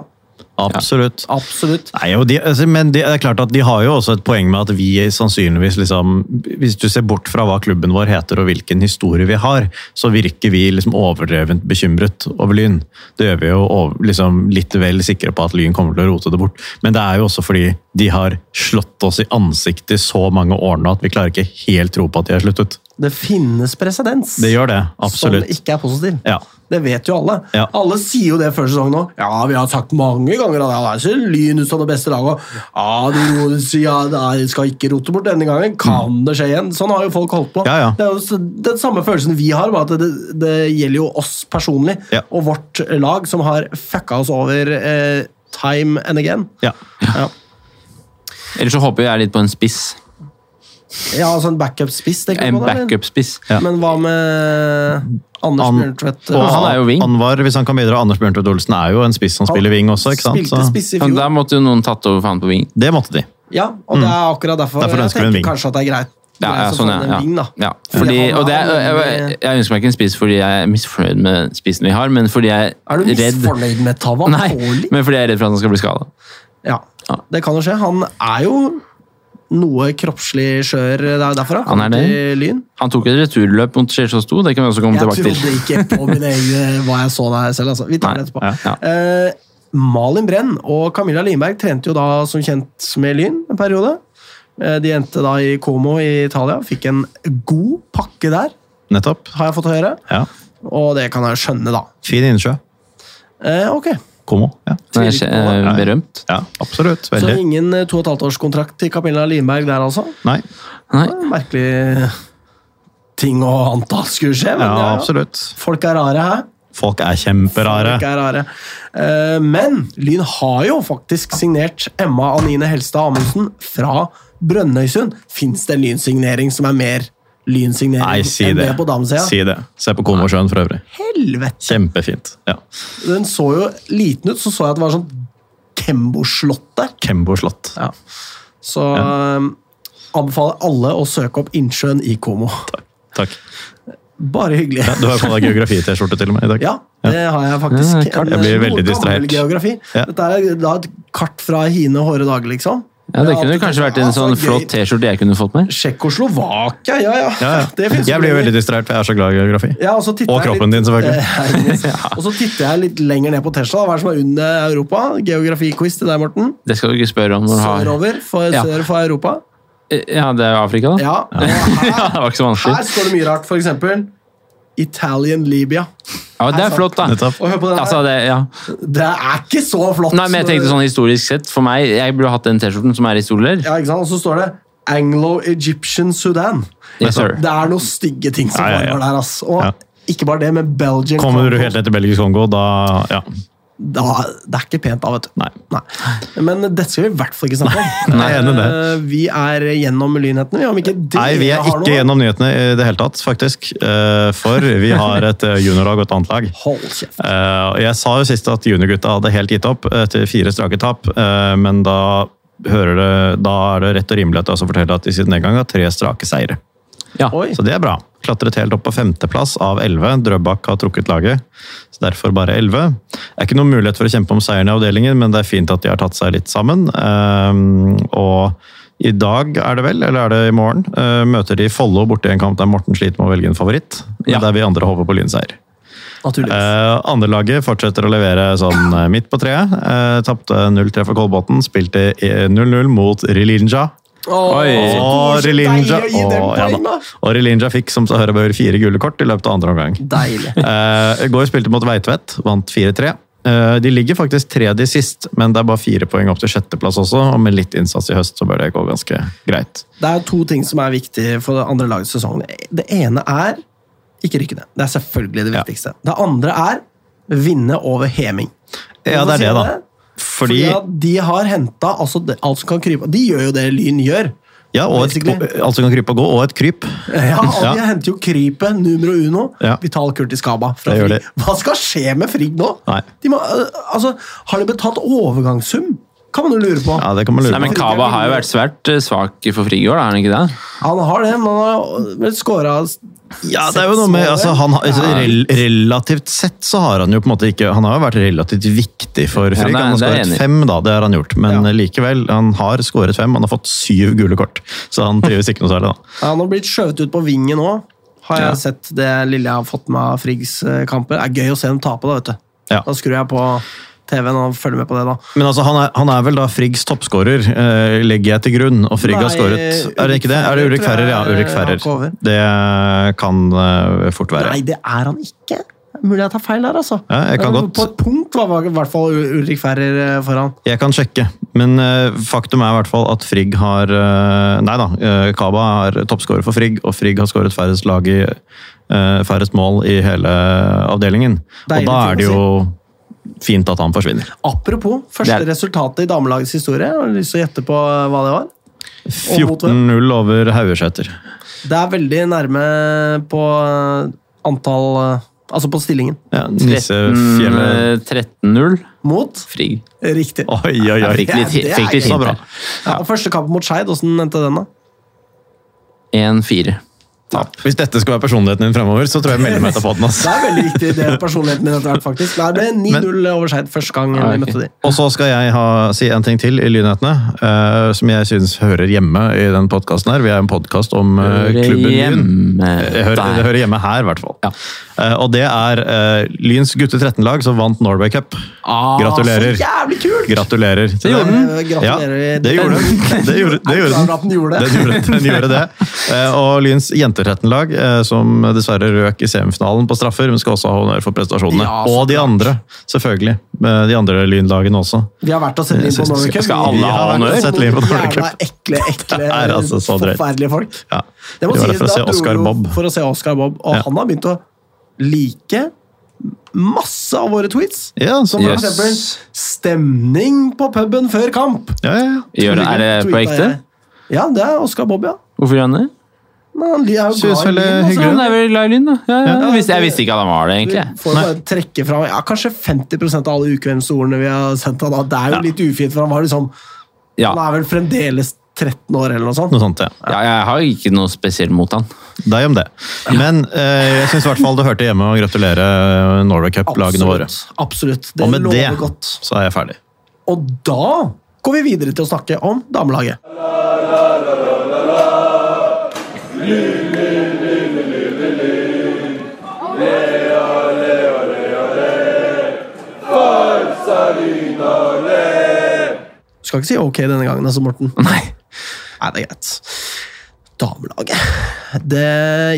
Speaker 3: Absolutt.
Speaker 1: absolutt.
Speaker 3: Nei, og de, altså, men de, det er klart at de har jo også et poeng med at vi sannsynligvis liksom, Hvis du ser bort fra hva klubben vår heter og hvilken historie vi har, så virker vi liksom overdrevent bekymret over Lyn. Det gjør vi jo over, liksom, litt vel sikre på at Lyn kommer til å rote det bort. Men det er jo også fordi de har slått oss i ansiktet i så mange år nå at vi klarer ikke helt tro på at de har sluttet.
Speaker 1: Det finnes presedens
Speaker 3: Det gjør det,
Speaker 1: som
Speaker 3: absolutt.
Speaker 1: ikke er positiv.
Speaker 3: Ja.
Speaker 1: Det vet jo alle.
Speaker 3: Ja.
Speaker 1: Alle sier jo det før sesongen òg. Ja, vi har sagt mange ganger at det er ikke Lyn ut av det beste laget. og Ja, de ro- sier, ja, det er- skal ikke rote bort denne gangen. Kan det skje igjen? Sånn har jo folk holdt på.
Speaker 3: Mm. Ja, ja.
Speaker 1: Det er jo s- den samme følelsen vi har, bare at det, det gjelder jo oss personlig
Speaker 3: Ja.
Speaker 1: og vårt lag, som har fucka oss over eh, time and again.
Speaker 3: Ja.
Speaker 1: Ja,
Speaker 2: Ellers så håper jeg er litt på en spiss.
Speaker 1: ja altså en backup-spiss. tenker du
Speaker 2: En
Speaker 1: på det, eller?
Speaker 2: backup-spiss.
Speaker 3: Ja.
Speaker 1: Men hva med Anders
Speaker 3: An-
Speaker 1: Bjørntvedt?
Speaker 3: Og
Speaker 2: han er jo wing.
Speaker 3: Anwar, hvis han kan bidra. Anders Bjørntvedt Olsen er jo en spiss som spiller wing også. ikke sant?
Speaker 1: Spilte
Speaker 3: Så,
Speaker 1: spiss i
Speaker 2: Men
Speaker 1: fjor.
Speaker 2: der måtte jo noen tatt over faen på vingen.
Speaker 3: det måtte de.
Speaker 1: Ja, og det er akkurat derfor,
Speaker 3: Derfor
Speaker 1: jeg
Speaker 3: ønsker vi en
Speaker 1: tenker
Speaker 3: wing.
Speaker 1: kanskje at det er greit.
Speaker 2: Ja,
Speaker 1: greit
Speaker 2: ja,
Speaker 1: å få
Speaker 2: sånn,
Speaker 1: inn en
Speaker 2: ja.
Speaker 1: wing, da.
Speaker 2: ja.
Speaker 1: Fordi eh,
Speaker 2: Fordi,
Speaker 1: han
Speaker 2: og det er,
Speaker 1: er
Speaker 2: jeg, jeg,
Speaker 1: nemlig-
Speaker 2: jeg ønsker meg ikke en spiss fordi jeg er misfornøyd med spissen vi har, men fordi jeg
Speaker 1: Er
Speaker 2: er
Speaker 1: du
Speaker 2: redd
Speaker 1: misfornøyd med Tavan?
Speaker 2: Nei,
Speaker 1: Tålig?
Speaker 2: men fordi jeg er redd for at han skal bli skada.
Speaker 1: Ja,
Speaker 2: Ja.
Speaker 1: det kan jo skje. Han er jo noe kroppslig skjør. eh, Det er jo derfor han
Speaker 2: Han er
Speaker 1: kom
Speaker 2: det.
Speaker 1: til Lyn.
Speaker 2: Han tok et returløp mot Chelsea 2, det kan vi også komme
Speaker 1: Jeg
Speaker 2: tilbake
Speaker 1: trodde
Speaker 2: til.
Speaker 1: ikke på mine egne hva jeg så der selv, altså. Vi tar
Speaker 2: Nei,
Speaker 1: det etterpå.
Speaker 2: ja, ja.
Speaker 1: Eh, Malin Brenn og Camilla Lindberg trente jo da som kjent med Lyn en periode. Eh, De endte da i Como i Italia. Fikk en god pakke der,
Speaker 3: Nettopp.
Speaker 1: har jeg fått høre.
Speaker 3: Ja.
Speaker 1: Og det kan jeg jo skjønne, da.
Speaker 3: Fin innsjø.
Speaker 1: Eh, ok.
Speaker 3: Komo. Ja.
Speaker 2: Det er ikke, eh, berømt.
Speaker 3: ja, absolutt.
Speaker 1: Så
Speaker 3: Veldig.
Speaker 1: ingen eh, to og et halvt års kontrakt til Camilla Lindberg der, altså?
Speaker 3: Nei.
Speaker 2: Nei,
Speaker 1: Merkelig ting å anta skulle skje. Men
Speaker 3: Ja,
Speaker 1: ja, ja.
Speaker 3: absolutt.
Speaker 1: Folk er rare her.
Speaker 3: Folk er kjemperare.
Speaker 1: Folk er rare. Eh, Men Lyn har jo faktisk signert Emma Anine Helstad Amundsen fra Brønnøysund. Fins det en lynsignering som er mer lynsignering
Speaker 3: Nei, si
Speaker 1: enn
Speaker 3: det.
Speaker 1: det på damesida?
Speaker 3: Si det. Se på Komosjøen for øvrig.
Speaker 1: Helvete!
Speaker 3: Kjempefint. Ja.
Speaker 1: Den så jo liten ut, så så jeg at det var sånn Kembo-slott der.
Speaker 3: Kembo slott.
Speaker 1: Ja. Så eh, anbefaler alle å søke opp Innsjøen i Komo.
Speaker 3: Takk.
Speaker 1: Bare hyggelig.
Speaker 3: Du har jo på deg geografi-T-skjorte til og med i dag.
Speaker 1: Ja, det har jeg faktisk.
Speaker 2: Ja, kart.
Speaker 1: En,
Speaker 3: Jeg blir
Speaker 1: eh,
Speaker 3: veldig
Speaker 1: gammel
Speaker 3: distrahert.
Speaker 1: geografi.
Speaker 3: Ja.
Speaker 1: Dette er da et kart fra hine hårde dager, liksom.
Speaker 2: Ja, Det
Speaker 1: Ja,
Speaker 2: kunne
Speaker 1: at du
Speaker 2: kanskje
Speaker 1: tenker,
Speaker 2: vært en
Speaker 1: ah, så
Speaker 2: sånn
Speaker 1: gøy.
Speaker 2: flott T-skjorte jeg kunne fått med.
Speaker 1: Tsjekkoslovakia, ja ja.
Speaker 3: Ja, ja.
Speaker 1: Det finnes
Speaker 3: jeg blir jo veldig distrahert, for jeg er så glad i geografi.
Speaker 1: ja, og, så titter
Speaker 3: Og
Speaker 1: jeg
Speaker 3: kroppen din, selvfølgelig.
Speaker 1: Eh, Og så titter jeg litt lenger ned på Tesla. Hva er det som er under Europa? Geografiquiz til deg, Morten.
Speaker 2: Det skal du ikke spørre om når du har
Speaker 1: Sørover for,
Speaker 2: Ja.
Speaker 1: sør for Europa.
Speaker 2: Ja, det er jo Afrika, da.
Speaker 1: Ja. Og
Speaker 2: Ja,
Speaker 1: her,
Speaker 2: det var ikke så
Speaker 1: her
Speaker 2: vanskelig.
Speaker 1: står det mye rart, for eksempel Italian Libya.
Speaker 2: Ja, men Det
Speaker 1: Her
Speaker 2: er flott, da.
Speaker 3: Nettopp.
Speaker 1: Og hør på den
Speaker 2: Altså,
Speaker 1: her.
Speaker 2: det, ja.
Speaker 1: Det er ikke så flott.
Speaker 2: Nei, men jeg tenkte sånn historisk sett, for meg, jeg burde hatt den T-skjorten som er i stoler.
Speaker 1: Ja, ikke sant? Og så står det Anglo-Egyptian Sudan.
Speaker 2: Yes, sir.
Speaker 1: Det er noen stygge ting som
Speaker 3: Ja, ja, ja.
Speaker 1: foregår der, ass. Og
Speaker 3: Ja.
Speaker 1: ikke bare det, men Belgian
Speaker 3: Kommer du helt etter belgisk Kongo, da ja.
Speaker 1: da, Det er ikke pent da, vet du.
Speaker 3: Nei.
Speaker 1: Nei. Men dette skal vi i hvert fall ikke snakke om.
Speaker 3: Nei, jeg er enig i det.
Speaker 1: Eh, Vi er gjennom lynhetene, vi. Om ikke dere
Speaker 3: Nei, vi er
Speaker 1: har
Speaker 3: ikke
Speaker 1: noe.
Speaker 3: gjennom nyhetene i det hele tatt, faktisk. Eh, For vi har et eh, juniorlag og et annet lag.
Speaker 1: Hold kjeft.
Speaker 3: Eh, og Jeg sa jo sist at juniorgutta hadde helt gitt opp etter fire strake tap, eh, men da, hører det, da er det rett og rimelig at jeg også forteller at de siden den gang har tre strake seire.
Speaker 2: Ja.
Speaker 1: Oi.
Speaker 3: Så det er bra. Klatret helt opp på femteplass av elleve. Drøbak har trukket laget, så derfor bare elleve. Det er ikke noen mulighet for å kjempe om seieren i avdelingen, men det er fint at de har tatt seg litt sammen. Ehm, og i dag er det vel, eller er det i morgen, eh, møter de Follo borti en kamp der Morten sliter med å velge en favoritt, men
Speaker 2: Ja.
Speaker 3: der vi andre håper på lynseier.
Speaker 1: Naturligvis.
Speaker 3: Eh, andre laget fortsetter å levere sånn eh, midt på treet. Eh, Tapte 0-3 for Kolbotn. Spilte eh, 0-0 mot Rilinja.
Speaker 2: Oi.
Speaker 3: Og Rilinja, Åh, ja
Speaker 1: ja,
Speaker 3: da. og Rilinja fikk som så hører bør fire gule kort i løpet av andre omgang.
Speaker 1: Deilig.
Speaker 3: Eh, I går spilte mot Veitvet, vant 4-3. Eh, de ligger faktisk tredje sist, men det er bare fire poeng opp til sjetteplass også. Og med litt innsats i høst så bør det gå ganske greit.
Speaker 1: Det er to ting som er viktige for det andre lagets sesong. Det ene er ikke rykke ned. Det er selvfølgelig det
Speaker 3: Ja.
Speaker 1: viktigste. Det andre er vinne over Heming. Hvorfor
Speaker 3: Ja, det er det,
Speaker 1: sier jeg
Speaker 3: da.
Speaker 1: Fordi
Speaker 3: Fordi
Speaker 1: at de har henta altså, det- alt som kan krype De gjør jo det Lyn gjør.
Speaker 3: Ja, og et,
Speaker 1: Basically.
Speaker 3: alt som kan krype og gå, og et kryp.
Speaker 1: Ja, og
Speaker 3: Ja.
Speaker 1: De henter jo krypet numero uno.
Speaker 3: Ja.
Speaker 1: Vital Kurtis Kaba fra
Speaker 3: Det gjør
Speaker 1: Frigg. Hva skal skje med Frigg nå?
Speaker 3: Nei.
Speaker 1: De må, øh, altså, har de betalt overgangssum? Kan man jo lure på.
Speaker 3: Ja, det kan man lure
Speaker 2: Nei, men
Speaker 3: på.
Speaker 2: Kaba har jo vært svært eh, svak for Frigård, er han ikke det?
Speaker 1: Han har det, men han har vel skåra
Speaker 3: Ja, det er jo noe med, altså, han, har- altså, rel Relativt sett så har han jo på en måte ikke Han har jo vært relativt viktig for Frigg.
Speaker 2: det er-
Speaker 3: han har
Speaker 2: det er jeg
Speaker 3: skåret
Speaker 2: enig i.
Speaker 3: fem, da, det har han gjort. Men
Speaker 1: Ja.
Speaker 3: likevel, han har skåret fem. Han har fått syv gule kort, så han trives ikke noe særlig, da.
Speaker 1: Han har blitt skjøvet ut på vingen òg. Har jeg sett det lille jeg har fått med av Friggs eh, kamper. Det er gøy å se dem tape, da. vet du.
Speaker 3: Ja.
Speaker 1: Da skrur jeg på TV-en og følger med på det, da.
Speaker 3: Men altså, han er, han er vel da Friggs toppskårer, eh, legger jeg til grunn. Og Frigg har
Speaker 1: Nei,
Speaker 3: skåret Er det ikke det? Er det
Speaker 1: Ulrik
Speaker 3: Ulrik Ferrer? Ja,
Speaker 1: Ferrer,
Speaker 3: Ulrik
Speaker 1: hakket over.
Speaker 3: Ferrer. Det kan eh, fort være.
Speaker 1: Nei, det er han ikke. Det er Mulig jeg tar feil der, altså.
Speaker 3: Ja, jeg kan
Speaker 1: Men
Speaker 3: godt-
Speaker 1: På et punkt var i hvert fall Ulrik Ferrer eh, foran.
Speaker 3: Jeg kan sjekke, men eh, faktum er i hvert fall at Frigg har eh, Nei da, eh, Kaba er toppskårer for Frigg, og Frigg har skåret færrest, lag i, eh, færrest mål i hele avdelingen.
Speaker 1: Deilig
Speaker 3: og da er
Speaker 1: ting å
Speaker 3: det jo fint at han forsvinner.
Speaker 1: Apropos første
Speaker 2: Det er-
Speaker 1: resultatet i damelagets historie. Har du lyst til å gjette på eh, hva det var? Og mot hvem?
Speaker 3: 14-0 over Haugeseter.
Speaker 1: Det er veldig nærme på eh, antall eh, Altså på stillingen.
Speaker 3: Ja,
Speaker 2: 13,
Speaker 3: Nissefjellet
Speaker 2: eh, 13-0
Speaker 1: Mot
Speaker 2: Frigg.
Speaker 1: Riktig.
Speaker 3: Oi, oi,
Speaker 2: Jeg
Speaker 3: oi.
Speaker 2: fikk litt,
Speaker 1: Ja, det er
Speaker 2: fikk litt
Speaker 3: så
Speaker 2: hint
Speaker 3: bra.
Speaker 2: der.
Speaker 1: Ja, og første kamp mot Skeid, åssen endte den, da?
Speaker 2: 1-4. Tap.
Speaker 3: Hvis dette skal være personligheten din fremover, så tror jeg jeg melder meg til podden. ass.
Speaker 1: Det er veldig viktig, det er personligheten min etter hvert, faktisk. Nei, Det ble 9-0 over Skeid første gang
Speaker 2: Ja,
Speaker 1: vi
Speaker 2: ok.
Speaker 1: møtte de.
Speaker 3: Og så skal jeg ha, si en ting til i Lynhetene, eh, som jeg syns hører hjemme i den podkasten her. Vi er en podkast om eh,
Speaker 2: Hører
Speaker 3: klubben Lyn.
Speaker 2: hjemme
Speaker 3: Det hører, det
Speaker 2: der.
Speaker 3: hører hjemme her, i hvert fall.
Speaker 2: Ja.
Speaker 3: Eh, og det er eh, Lyns gutte 13-lag som vant Norway Cup.
Speaker 2: Ah,
Speaker 3: Gratulerer.
Speaker 1: Så jævlig kult!
Speaker 3: Gratulerer.
Speaker 2: Det
Speaker 3: til
Speaker 2: gjorde
Speaker 3: dem.
Speaker 2: den.
Speaker 1: Eh,
Speaker 3: Ja,
Speaker 1: Gratulerer.
Speaker 3: det gjorde den. Det gjorde, det
Speaker 1: Er
Speaker 3: gjorde
Speaker 1: du
Speaker 3: den.
Speaker 1: glad at den gjorde det?
Speaker 3: Den gjorde, den gjorde det. Eh, Og Lyns jenterettenlag, eh, som dessverre røk i semifinalen på straffer, men skal også ha honnør for prestasjonene.
Speaker 1: Ja, så
Speaker 3: og de andre, selvfølgelig. Eh, De andre Lynlagene også.
Speaker 1: Vi har vært og sett Lyn
Speaker 3: Jeg
Speaker 1: på
Speaker 3: synes-
Speaker 1: Norway Cup.
Speaker 2: skal alle
Speaker 1: Vi
Speaker 2: ha
Speaker 1: har
Speaker 2: honnør?
Speaker 1: vært og
Speaker 3: Sett Lyn på Norway Cup.
Speaker 1: Jævla ekle, ekle,
Speaker 3: Det er altså så drøyt.
Speaker 1: forferdelige folk.
Speaker 3: Ja.
Speaker 1: Det må
Speaker 3: de var
Speaker 1: sies,
Speaker 3: der for å
Speaker 1: da
Speaker 3: se
Speaker 1: dro
Speaker 3: Oscar
Speaker 1: jo
Speaker 3: Bob.
Speaker 1: For å se Oscar Bob. Og
Speaker 3: Ja.
Speaker 1: han har begynt å like masse av våre tweets.
Speaker 3: Ja, sånn så bra.
Speaker 1: For
Speaker 2: Yes.
Speaker 1: eksempel stemning på puben før kamp.
Speaker 3: Ja, ja, ja.
Speaker 2: Gjør det, er det på
Speaker 1: Tweetet
Speaker 2: ekte?
Speaker 1: jeg. Ja, det er Oscar Bob, ja.
Speaker 2: Hvorfor gjør han det?
Speaker 1: Men han er jo glad
Speaker 3: Synes
Speaker 1: i
Speaker 3: vel det er
Speaker 1: Lyn, altså.
Speaker 2: Ja,
Speaker 3: hyggelig.
Speaker 2: Han er vel glad i Lyn, da. Ja, ja.
Speaker 1: Ja,
Speaker 2: Jeg, visste, jeg
Speaker 1: det-
Speaker 2: visste ikke at han var det, egentlig.
Speaker 1: Får bare trekke fram ja, kanskje 50 av alle ukvemsordene vi har sendt han. da. Det er jo litt ufint, for han var liksom
Speaker 2: Ja.
Speaker 1: Han er vel fremdeles 13 år, eller noe sånt.
Speaker 3: Noe sånt, ja.
Speaker 2: Ja, jeg har ikke noe spesielt mot han.
Speaker 3: Deg om det. Men eh, jeg syns i hvert fall det hørte hjemme å gratulere eh, Norway Cup-lagene våre.
Speaker 1: Absolutt. Absolutt. Det
Speaker 3: Og med
Speaker 1: lover
Speaker 3: det
Speaker 1: godt.
Speaker 3: så er jeg ferdig.
Speaker 1: Og da går vi videre til å snakke om damelaget. Du skal ikke si ok denne gangen, altså, Morten.
Speaker 2: Nei.
Speaker 1: Nei, det er greit. Damelaget Det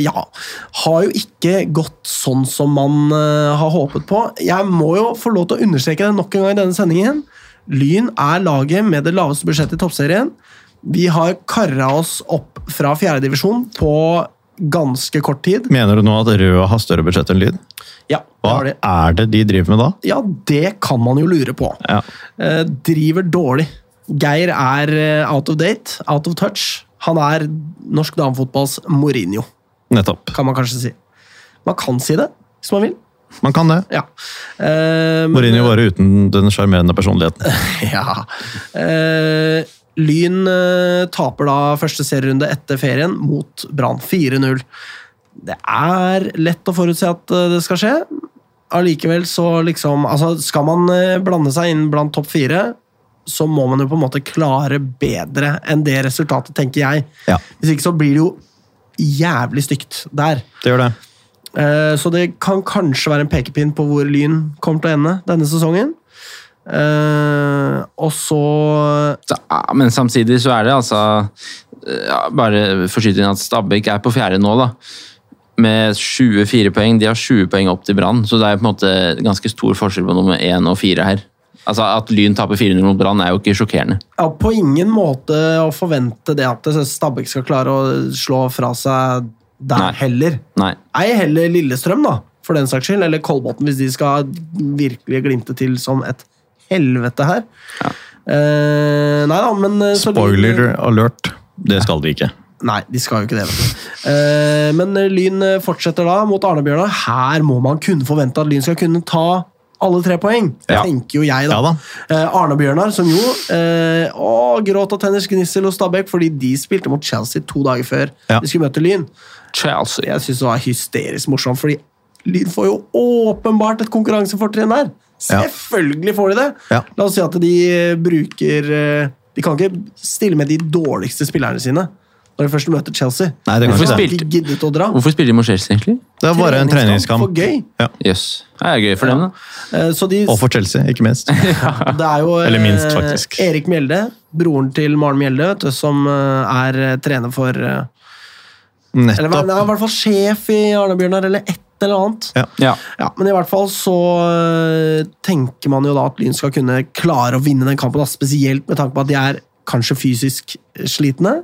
Speaker 1: ja, har jo ikke gått sånn som man eh, har håpet på. Jeg må jo få lov til å understreke det nok en gang i denne sendingen. Lyn er laget med det laveste budsjettet i toppserien. Vi har kara oss opp fra fjerdedivisjon på ganske kort tid.
Speaker 3: Mener du nå at Røa har større budsjett enn Lyn?
Speaker 1: Ja, det
Speaker 3: Hva
Speaker 1: har de.
Speaker 3: er det de driver med da?
Speaker 1: ja, det kan man jo lure på.
Speaker 3: Ja.
Speaker 1: Eh, driver dårlig. Geir er eh, out of date, out of touch. Han er norsk damefotballs Mourinho,
Speaker 3: Nettopp.
Speaker 1: kan man kanskje si. Man kan si det, hvis man vil.
Speaker 3: Man kan det.
Speaker 1: Ja. Eh, men-
Speaker 3: Mourinho bare uten den sjarmerende personligheten.
Speaker 1: Ja. Eh, Lyn eh, taper da første serierunde etter ferien mot Brann 4-0. Det er lett å forutse at eh, det skal skje. Allikevel så liksom Altså, skal man eh, blande seg inn blant topp fire, så må man jo på en måte klare bedre enn det resultatet, tenker jeg.
Speaker 3: Ja.
Speaker 1: Hvis ikke så blir det jo jævlig stygt der.
Speaker 3: Det gjør det.
Speaker 1: Eh, Så det kan kanskje være en pekepinn på hvor Lyn kommer til å ende denne sesongen. Eh, og så
Speaker 2: Så, ja, men samtidig så er det altså ja, Bare for å skyte inn at Stabæk er på fjerde nå, da. Med 24 poeng. De har 20 poeng opp til Brann, så det er på en måte ganske stor forskjell på nummer én og fire her. Altså At Lyn taper 400 mot Brann, er jo ikke sjokkerende.
Speaker 1: ja, På ingen måte å forvente det at Stabæk skal klare å slå fra seg der
Speaker 2: Nei.
Speaker 1: heller.
Speaker 2: Nei.
Speaker 1: Ei heller Lillestrøm, da, for den saks skyld. Eller Kolbotn, hvis de skal virkelig glimte til som et helvete her. Eh, nei da, men eh, så Lyn-
Speaker 3: Spoiler alert. Det skal de ikke.
Speaker 1: Nei, de skal jo ikke det. Vet du. Eh, men Lyn fortsetter da mot Arnebjørnar. Her må man kunne forvente at Lyn skal kunne ta alle tre poeng,
Speaker 3: Ja.
Speaker 1: tenker jo jeg. da.
Speaker 3: Ja da.
Speaker 1: Eh, Arnebjørnar, som jo eh, å, gråt av tenners gnissel hos Stabæk fordi de spilte mot Chelsea to dager før
Speaker 3: Ja.
Speaker 1: de skulle møte Lyn.
Speaker 2: Chelsea.
Speaker 1: Jeg syns det var hysterisk morsomt, fordi Lyn får jo åpenbart et konkurransefortrinn der.
Speaker 3: Ja.
Speaker 1: Selvfølgelig får de det!
Speaker 3: Ja.
Speaker 1: La oss si at de eh, bruker eh, De kan ikke stille med de dårligste spillerne sine når de først møter Chelsea.
Speaker 3: Nei, det kan
Speaker 1: Hvorfor
Speaker 2: ikke det.
Speaker 1: har de ikke giddet å dra.
Speaker 2: Hvorfor spiller de mot Chelsea, egentlig?
Speaker 3: Det er bare en
Speaker 1: For
Speaker 3: treningskamp.
Speaker 1: gøy.
Speaker 3: Ja.
Speaker 2: Jøss. Det er gøy for dem, da.
Speaker 1: Eh, Så de,
Speaker 3: Og for Chelsea, ikke minst.
Speaker 1: det er jo eh,
Speaker 3: Eller minst, faktisk.
Speaker 1: Erik Mjelde, broren til Maren Mjelde, vet du, som eh, er eh, trener for eh, Eller hva-
Speaker 3: Nettopp.
Speaker 1: han er i hvert fall sjef i Arne-Bjørnar, eller et eller annet.
Speaker 3: Ja.
Speaker 2: Ja.
Speaker 1: Ja, Men i hvert fall så øh, tenker man jo da at Lyn skal kunne klare å vinne den kampen, da, spesielt med tanke på at de er kanskje fysisk slitne.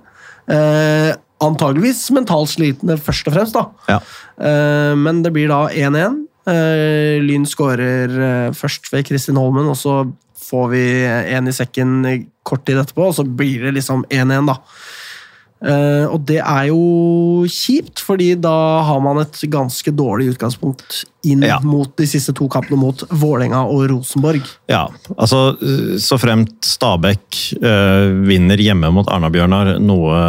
Speaker 1: Eh, antageligvis mentalt slitne, først og fremst. da.
Speaker 3: Ja.
Speaker 1: Eh, men det blir da 1-1. Eh, Lyn skårer eh, først ved Kristin Holmen, og så får vi en i sekken kort tid etterpå, og så blir det liksom 1-1, da. Eh, og det er jo kjipt, fordi da har man et ganske dårlig utgangspunkt inn
Speaker 3: Ja.
Speaker 1: mot de siste to kampene mot Vålerenga og Rosenborg.
Speaker 3: ja. Altså, så fremt Stabæk eh, vinner hjemme mot Arna-Bjørnar, noe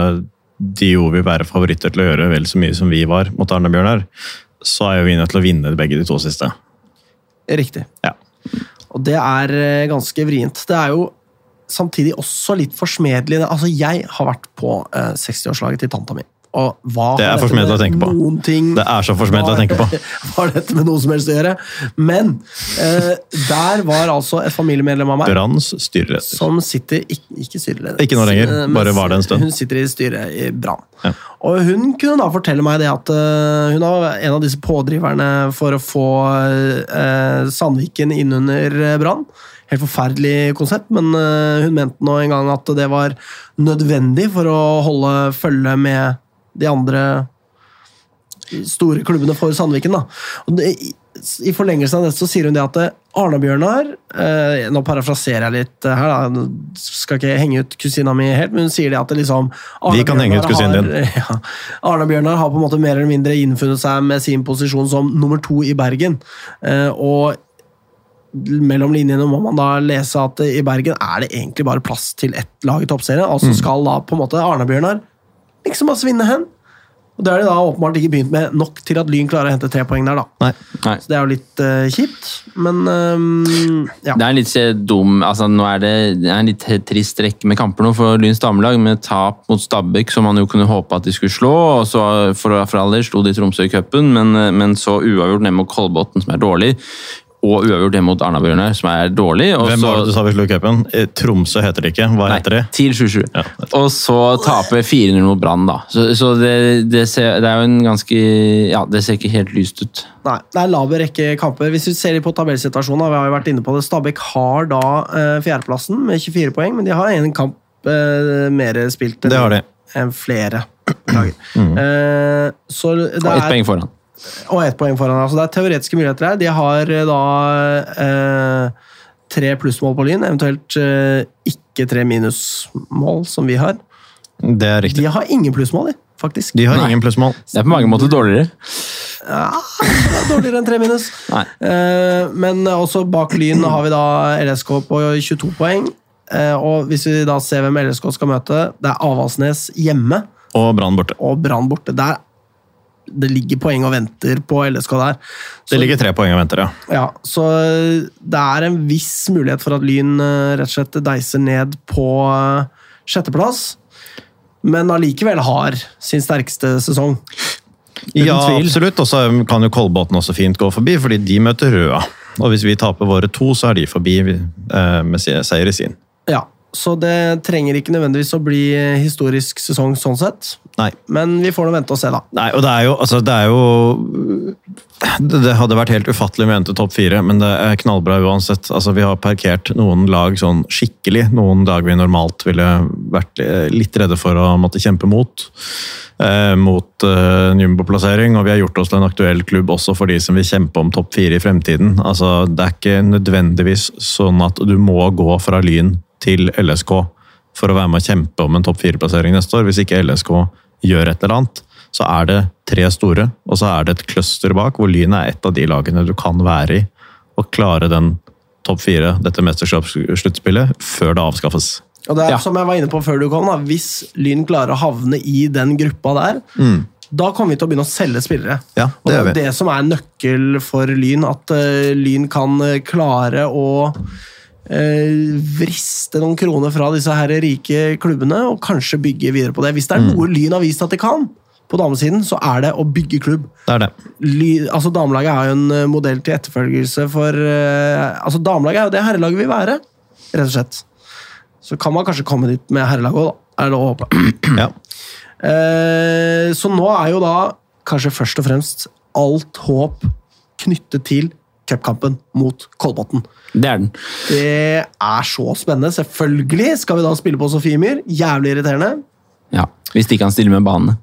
Speaker 3: de jo vil være favoritter til å gjøre vel så mye som vi var mot Arna-Bjørnar, så er jo vi nødt til å vinne begge de to siste.
Speaker 1: Riktig.
Speaker 3: Ja.
Speaker 1: Og det er eh, ganske vrient. Det er jo samtidig også litt forsmedelig. Altså, jeg har vært på eh, 60-årslaget til tanta mi. Og hva
Speaker 3: Det er
Speaker 1: har dette
Speaker 3: forsmedelig å
Speaker 1: med
Speaker 3: tenke på.
Speaker 1: Noen ting
Speaker 3: Det er så forsmedelig å tenke på.
Speaker 1: Har dette med noe som helst å gjøre? Men eh, der var altså et familiemedlem av meg
Speaker 3: Branns styrerett.
Speaker 1: som sitter ikke, ikke styreleder.
Speaker 3: Ikke nå lenger,
Speaker 1: Eh, men
Speaker 3: bare var det en stund.
Speaker 1: Hun sitter i styret i Brann.
Speaker 3: Ja.
Speaker 1: Og hun kunne da fortelle meg det at eh, hun er en av disse pådriverne for å få eh, Sandviken innunder eh, Brann. Helt forferdelig konsept, men eh, hun mente nå en gang at det var nødvendig for å holde følge med de andre store klubbene for Sandviken. Da. Og det, i- I forlengelsen av det så sier hun det at eh, Arna-Bjørnar eh, Nå parafraserer jeg litt eh, her, da. nå skal ikke henge ut kusina mi helt, men hun sier det at det liksom
Speaker 3: Vi kan henge ut
Speaker 1: Arna-Bjørnar
Speaker 3: kusinen
Speaker 1: har- Ja, Arna-Bjørnar har på en måte mer eller mindre innfunnet seg med sin posisjon som nummer to i Bergen. Eh, og mellom linjene må man da lese at i Bergen er det egentlig bare
Speaker 3: Mm.
Speaker 1: plass til ett lag i toppserien. Altså skal da på en måte Arna-Bjørnar liksom bare svinne hen. Og Det har de da åpenbart ikke begynt med nok til at Lyn klarer å hente tre poeng der. da.
Speaker 3: Nei.
Speaker 2: Nei.
Speaker 1: Så Det er jo litt eh, kjipt, men ehm, ja.
Speaker 2: Det er en litt eh, dum altså Nå er det, det er en litt trist rekke med kamper nå for Lyns damelag, med tap mot Stabæk, som man jo kunne håpe at de skulle slå. og så For, for all del slo de Tromsø i cupen, men, eh, men så uavgjort ned mot Kolbotn, som er dårlig. Og uavgjort ned mot Arna-Bjørnar, som er dårlig. Og
Speaker 3: Hvem
Speaker 2: så,
Speaker 3: var det du sa vi slo i cupen? Eh, Tromsø heter det ikke. Hva heter de?
Speaker 2: Nei, TIL 27. Og så taper 4-0 mot Brann, da. Så, så det, det, ser, det er jo en ganske Ja, det ser ikke helt lyst ut.
Speaker 1: Nei, det er en laber rekke kamper. Hvis vi ser litt på tabellsituasjonen, da, vi har jo vært inne på det, Stabæk har da eh, fjerdeplassen med 24 poeng, men de har én kamp eh, mer spilt enn,
Speaker 3: Det har de.
Speaker 1: enn flere. Beklager. Eh, så det
Speaker 2: Og ett
Speaker 1: er,
Speaker 2: poeng foran.
Speaker 1: og ett poeng foran. Altså det er teoretiske muligheter her. De har eh, da eh, tre plussmål på Lyn, eventuelt eh, ikke tre minusmål, som vi har.
Speaker 3: Det er riktig.
Speaker 1: De har ingen plussmål, de, faktisk.
Speaker 3: De har
Speaker 2: Nei.
Speaker 3: ingen plussmål.
Speaker 2: Det er på mange måter dårligere.
Speaker 1: Det er dårligere enn tre minus.
Speaker 2: Nei.
Speaker 1: Eh, Men også bak Lyn har vi da LSK på 22 poeng. Eh, Og hvis vi da ser hvem LSK skal møte, det er Avaldsnes hjemme
Speaker 3: Og Brann borte.
Speaker 1: og Brann borte. Der det ligger poeng og venter på LSK der. Så,
Speaker 3: Det ligger tre poeng og venter, ja.
Speaker 1: ja, så eh, det er en viss mulighet for at Lyn eh, rett og slett deiser ned på eh, sjetteplass. Men allikevel har sin sterkeste sesong.
Speaker 3: Ja,
Speaker 2: tvil.
Speaker 3: absolutt. Og så kan jo Kolbotn også fint gå forbi, fordi de møter Røa. Og hvis vi taper våre to, så er de forbi eh, med se- seier i sin.
Speaker 1: Ja, Så det trenger ikke nødvendigvis å bli eh, historisk sesong sånn sett.
Speaker 3: Nei.
Speaker 1: Men vi får nå vente og se, da.
Speaker 3: Nei, og det er jo, altså, det er jo det det hadde vært helt ufattelig om vi endte topp fire, men det er knallbra uansett. Altså, vi har parkert noen lag sånn skikkelig, noen lag vi normalt ville vært eh, litt redde for å måtte kjempe mot. Eh, mot eh, en jumboplassering, og vi har gjort oss til en aktuell klubb også for de som vil kjempe om topp fire i fremtiden. Altså, det er ikke nødvendigvis sånn at du må gå fra Lyn til LSK for å være med å kjempe om en topp fire-plassering neste år. Hvis ikke LSK gjør et eller annet, så er det tre store, og så er det et cluster bak, hvor Lyn er et av de lagene du kan være i og klare den topp fire, dette mesterskapssluttspillet, før det avskaffes.
Speaker 1: Og det er
Speaker 2: Ja.
Speaker 1: som jeg var inne på før du kom, da, Hvis Lyn klarer å havne i den gruppa der, da kommer vi til å begynne å selge spillere.
Speaker 3: Mm. Ja, det
Speaker 1: og det
Speaker 3: gjør
Speaker 1: er
Speaker 3: vi.
Speaker 1: det som er nøkkel for Lyn, at eh, Lyn kan eh, klare å eh, vriste noen kroner fra disse her rike klubbene og kanskje bygge videre på det. Hvis det
Speaker 3: Mm.
Speaker 1: er noe Lyn har vist at de kan, på damesiden, så er det å bygge klubb.
Speaker 3: Det er det.
Speaker 1: Ly, altså Damelaget er jo en eh, modell til etterfølgelse for eh, altså Damelaget er jo det herrelaget vil være, rett og slett. Så kan man kanskje komme dit med herrelaget òg, da. Er det å håpe.
Speaker 3: Ja.
Speaker 1: Eh, så nå er jo da kanskje først og fremst alt håp knyttet til cupkampen mot Kolbotn.
Speaker 2: Det er den.
Speaker 1: Det er så spennende. Selvfølgelig skal vi da spille på Sofiemyr. Jævlig irriterende.
Speaker 2: Ja. Hvis ikke han stiller med banene.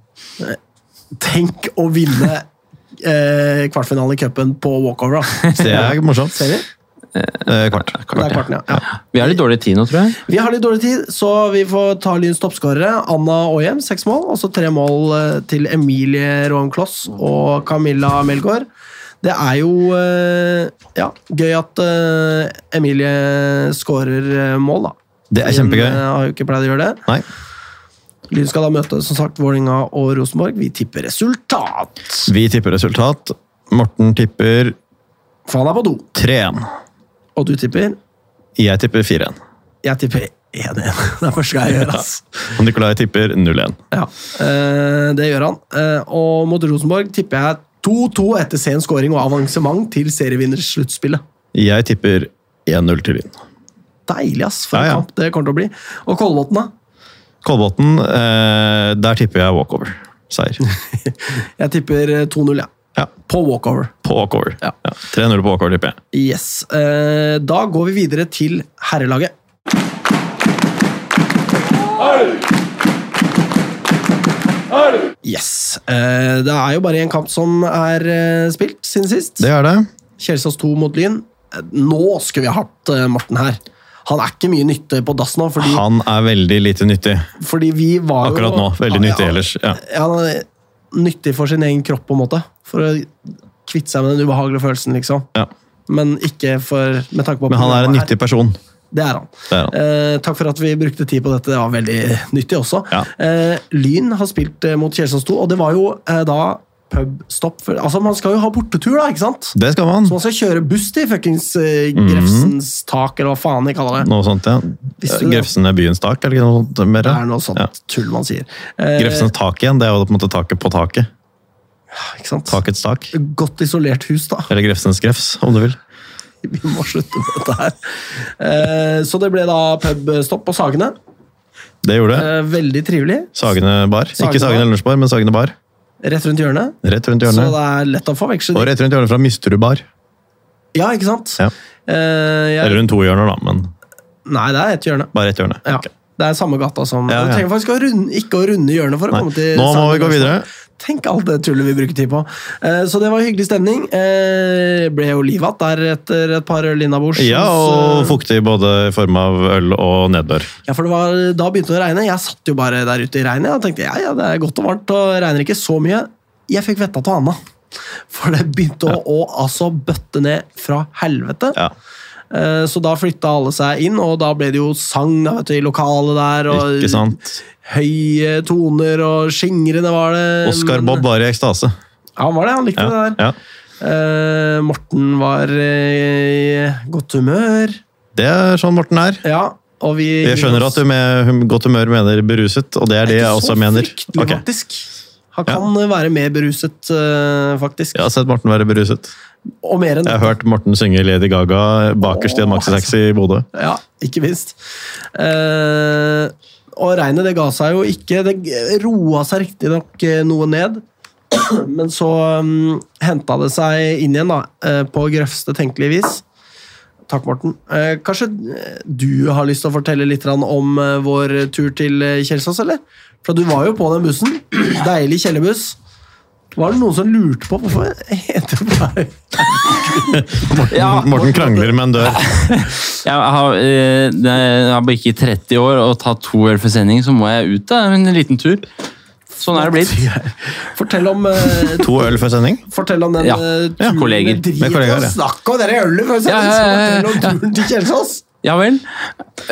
Speaker 1: Tenk å vinne eh, kvartfinalen i cupen på walkover, da.
Speaker 3: Det er morsomt.
Speaker 1: Ser vi?
Speaker 3: Eh, Kvart.
Speaker 1: Det er kvarten, ja. ja.
Speaker 2: Vi har litt dårlig tid nå, tror jeg.
Speaker 1: Vi har litt dårlig tid, så vi får ta Lyns toppskårere. Anna Åhjem, seks mål. Og så tre mål eh, til Emilie Roam Kloss og Camilla Melgaard. Det er jo eh, ja, gøy at eh, Emilie skårer eh, mål, da.
Speaker 3: Det
Speaker 1: Hun,
Speaker 3: er
Speaker 1: eh,
Speaker 3: kjempegøy.
Speaker 1: har jo ikke pleid å gjøre det.
Speaker 3: Nei.
Speaker 1: Lyn skal da møte som sagt Vålinga og Rosenborg. Vi tipper resultat!
Speaker 3: Vi tipper resultat. Morten tipper
Speaker 1: For han er på do.
Speaker 3: 3-1.
Speaker 1: Og du tipper?
Speaker 3: Jeg tipper 4-1.
Speaker 1: Jeg tipper 1-1. Det er første gang jeg gjør, ass.
Speaker 3: Og Nikolai tipper 0-1.
Speaker 1: Ja, eh, det gjør han. Eh, og mot Rosenborg tipper jeg 2-2 etter sen scoring og avansement til serievinners sluttspillet.
Speaker 3: Jeg tipper 1-0 til Lyn.
Speaker 1: Deilig, ass, for
Speaker 3: Ja, ja.
Speaker 1: en kamp det kommer til å bli. Og Kolbotn, da?
Speaker 3: Kolbotn, eh, der tipper jeg walkover. Seier.
Speaker 1: Jeg tipper eh, 2-0, jeg.
Speaker 3: Ja.
Speaker 1: På walkover.
Speaker 3: På walkover.
Speaker 1: Ja.
Speaker 3: Ja. 3-0 på walkover, tipper jeg.
Speaker 1: Yes. Eh, da går vi videre til herrelaget. Yes. Eh, det er jo bare én kamp som er eh, spilt siden sist.
Speaker 3: Det er det.
Speaker 1: Kjelsås 2 mot Lyn. Eh, Nå skulle vi hatt eh, Morten her. Han er ikke mye nytte på dass nå, fordi,
Speaker 3: Han er veldig lite nyttig.
Speaker 1: fordi vi var jo
Speaker 3: Akkurat nå. Veldig
Speaker 1: Ja,
Speaker 3: nyttig ellers. Ja.
Speaker 1: Ja, han er nyttig for sin egen kropp, på en måte. For å kvitte seg med den ubehagelige følelsen, liksom.
Speaker 3: Ja.
Speaker 1: Men ikke for, med tanke på
Speaker 3: Men han er en
Speaker 1: programmet her.
Speaker 3: nyttig person.
Speaker 1: Det er han.
Speaker 3: Det er han.
Speaker 1: Eh, takk for at vi brukte tid på dette. Det var veldig nyttig også.
Speaker 3: Ja.
Speaker 1: Eh, Lyn har spilt eh, mot Kjelsås 2, og det var jo eh, da pubstopp for- Altså, man skal jo ha bortetur, da, ikke sant?
Speaker 3: Det skal man.
Speaker 1: Så man skal kjøre buss til fuckings eh,
Speaker 3: Mhm.
Speaker 1: Grefsens tak, eller hva faen de kaller det.
Speaker 3: Noe sånt, ja.
Speaker 1: Visste du det?
Speaker 3: Grefsen er byens tak, eller noe sånt? Mer,
Speaker 1: Det
Speaker 3: ja?
Speaker 1: er noe sånt
Speaker 3: Ja.
Speaker 1: tull man sier. Eh,
Speaker 3: Grefsens tak igjen, det er jo på en måte taket på taket.
Speaker 1: Ikke sant?
Speaker 3: Takets tak.
Speaker 1: Godt isolert hus, da.
Speaker 3: Eller Grefsens grefs, om du vil.
Speaker 1: Vi må slutte med dette her. Eh, så det ble da pubstopp på Sagene.
Speaker 3: Det gjorde det.
Speaker 1: Eh, veldig trivelig.
Speaker 3: Sagene bar.
Speaker 1: Sagene
Speaker 3: Ikke Sagene
Speaker 1: bar.
Speaker 3: lunsjbar, men Sagene bar.
Speaker 1: Rett rundt hjørnet.
Speaker 3: Rett rundt
Speaker 1: Så
Speaker 3: hjørnet.
Speaker 1: det er lett å forveksle. de.
Speaker 3: Og rett rundt hjørnet fra Misterud bar.
Speaker 1: Ja, ikke sant?
Speaker 3: Ja.
Speaker 1: Eh, jeg,
Speaker 3: Eller rundt to hjørner, da, men
Speaker 1: nei, det er ett hjørne.
Speaker 3: bare ett hjørne.
Speaker 1: Ja.
Speaker 3: Ok.
Speaker 1: Det er samme gata som
Speaker 3: Ja, ja.
Speaker 1: Du trenger faktisk å runde, ikke å runde hjørnet for å
Speaker 3: Nei.
Speaker 1: komme til
Speaker 3: Nå må
Speaker 1: Sagene
Speaker 3: vi gå
Speaker 1: lunsjbar.
Speaker 3: videre.
Speaker 1: Tenk alt det tullet vi bruker tid på. Eh, så det var hyggelig stemning. Eh, ble jo liv igjen der etter et par øl innabords.
Speaker 3: Ja,
Speaker 1: Så-
Speaker 3: og fuktig både i form av øl og nedbør.
Speaker 1: Ja, for det var, Da begynte det å regne. Jeg satt jo bare der ute i regnet og tenkte ja, ja, det er godt og varmt og regner ikke så mye. Jeg fikk vetta til Anna. For det begynte å, å altså bøtte ned fra helvete.
Speaker 3: Ja.
Speaker 1: Eh, Så da flytta alle seg inn, og da ble det jo sang da, vet du, i lokalet der. Og
Speaker 3: Ikke sant?
Speaker 1: høye toner, og skingrende var det.
Speaker 3: Oscar
Speaker 1: men-
Speaker 3: Bob var i ekstase.
Speaker 1: Ja, han var det. Han likte
Speaker 3: Ja.
Speaker 1: det der.
Speaker 3: ja.
Speaker 1: Eh, Morten var eh, i godt humør.
Speaker 3: Det er sånn Morten er.
Speaker 1: Ja, og vi
Speaker 3: Jeg skjønner at du med hum- godt humør mener beruset, og det er det jeg også mener.
Speaker 1: Ikke så fryktelig,
Speaker 3: Ok.
Speaker 1: faktisk. Han kan eh, være mer beruset, eh, faktisk.
Speaker 3: Jeg har sett Morten være beruset.
Speaker 1: Og mer enn
Speaker 3: Jeg
Speaker 1: det.
Speaker 3: har hørt Morten synge Lady Gaga bakerst i en maxitaxi i Bodø.
Speaker 1: Ja, ikke minst. Eh, og regnet det ga seg jo ikke. Det roa seg riktignok noe ned. Men så um, henta det seg inn igjen, da, eh, på grøvste tenkelige vis. Takk, Morten. Eh, kanskje eh, du har lyst til å fortelle litt grann om eh, vår tur til eh, Kjelsås, eller? For du var jo på den bussen. Deilig kjellerbuss. Var det noen som lurte på hvorfor heter det bare
Speaker 2: Ja.
Speaker 3: Morten krangler med en dør.
Speaker 2: Jeg har, eh, det er- jeg har bare ikke 30 år og tatt to øl for sending, så må jeg ut da, en liten tur. Sånn er det blitt.
Speaker 1: Fortell om eh,
Speaker 3: To øl før sending.
Speaker 1: Fortell om den
Speaker 2: Ja.
Speaker 1: eh,
Speaker 2: Ja,
Speaker 1: turen
Speaker 2: kolleger.
Speaker 1: med drit
Speaker 3: Med kolleger,
Speaker 1: og
Speaker 3: ja.
Speaker 1: Snakk om dere ølet før
Speaker 2: Ja,
Speaker 1: sending!
Speaker 2: ja, ja, ja,
Speaker 1: så Fortell om turen til Kjelsås!
Speaker 2: Ja vel.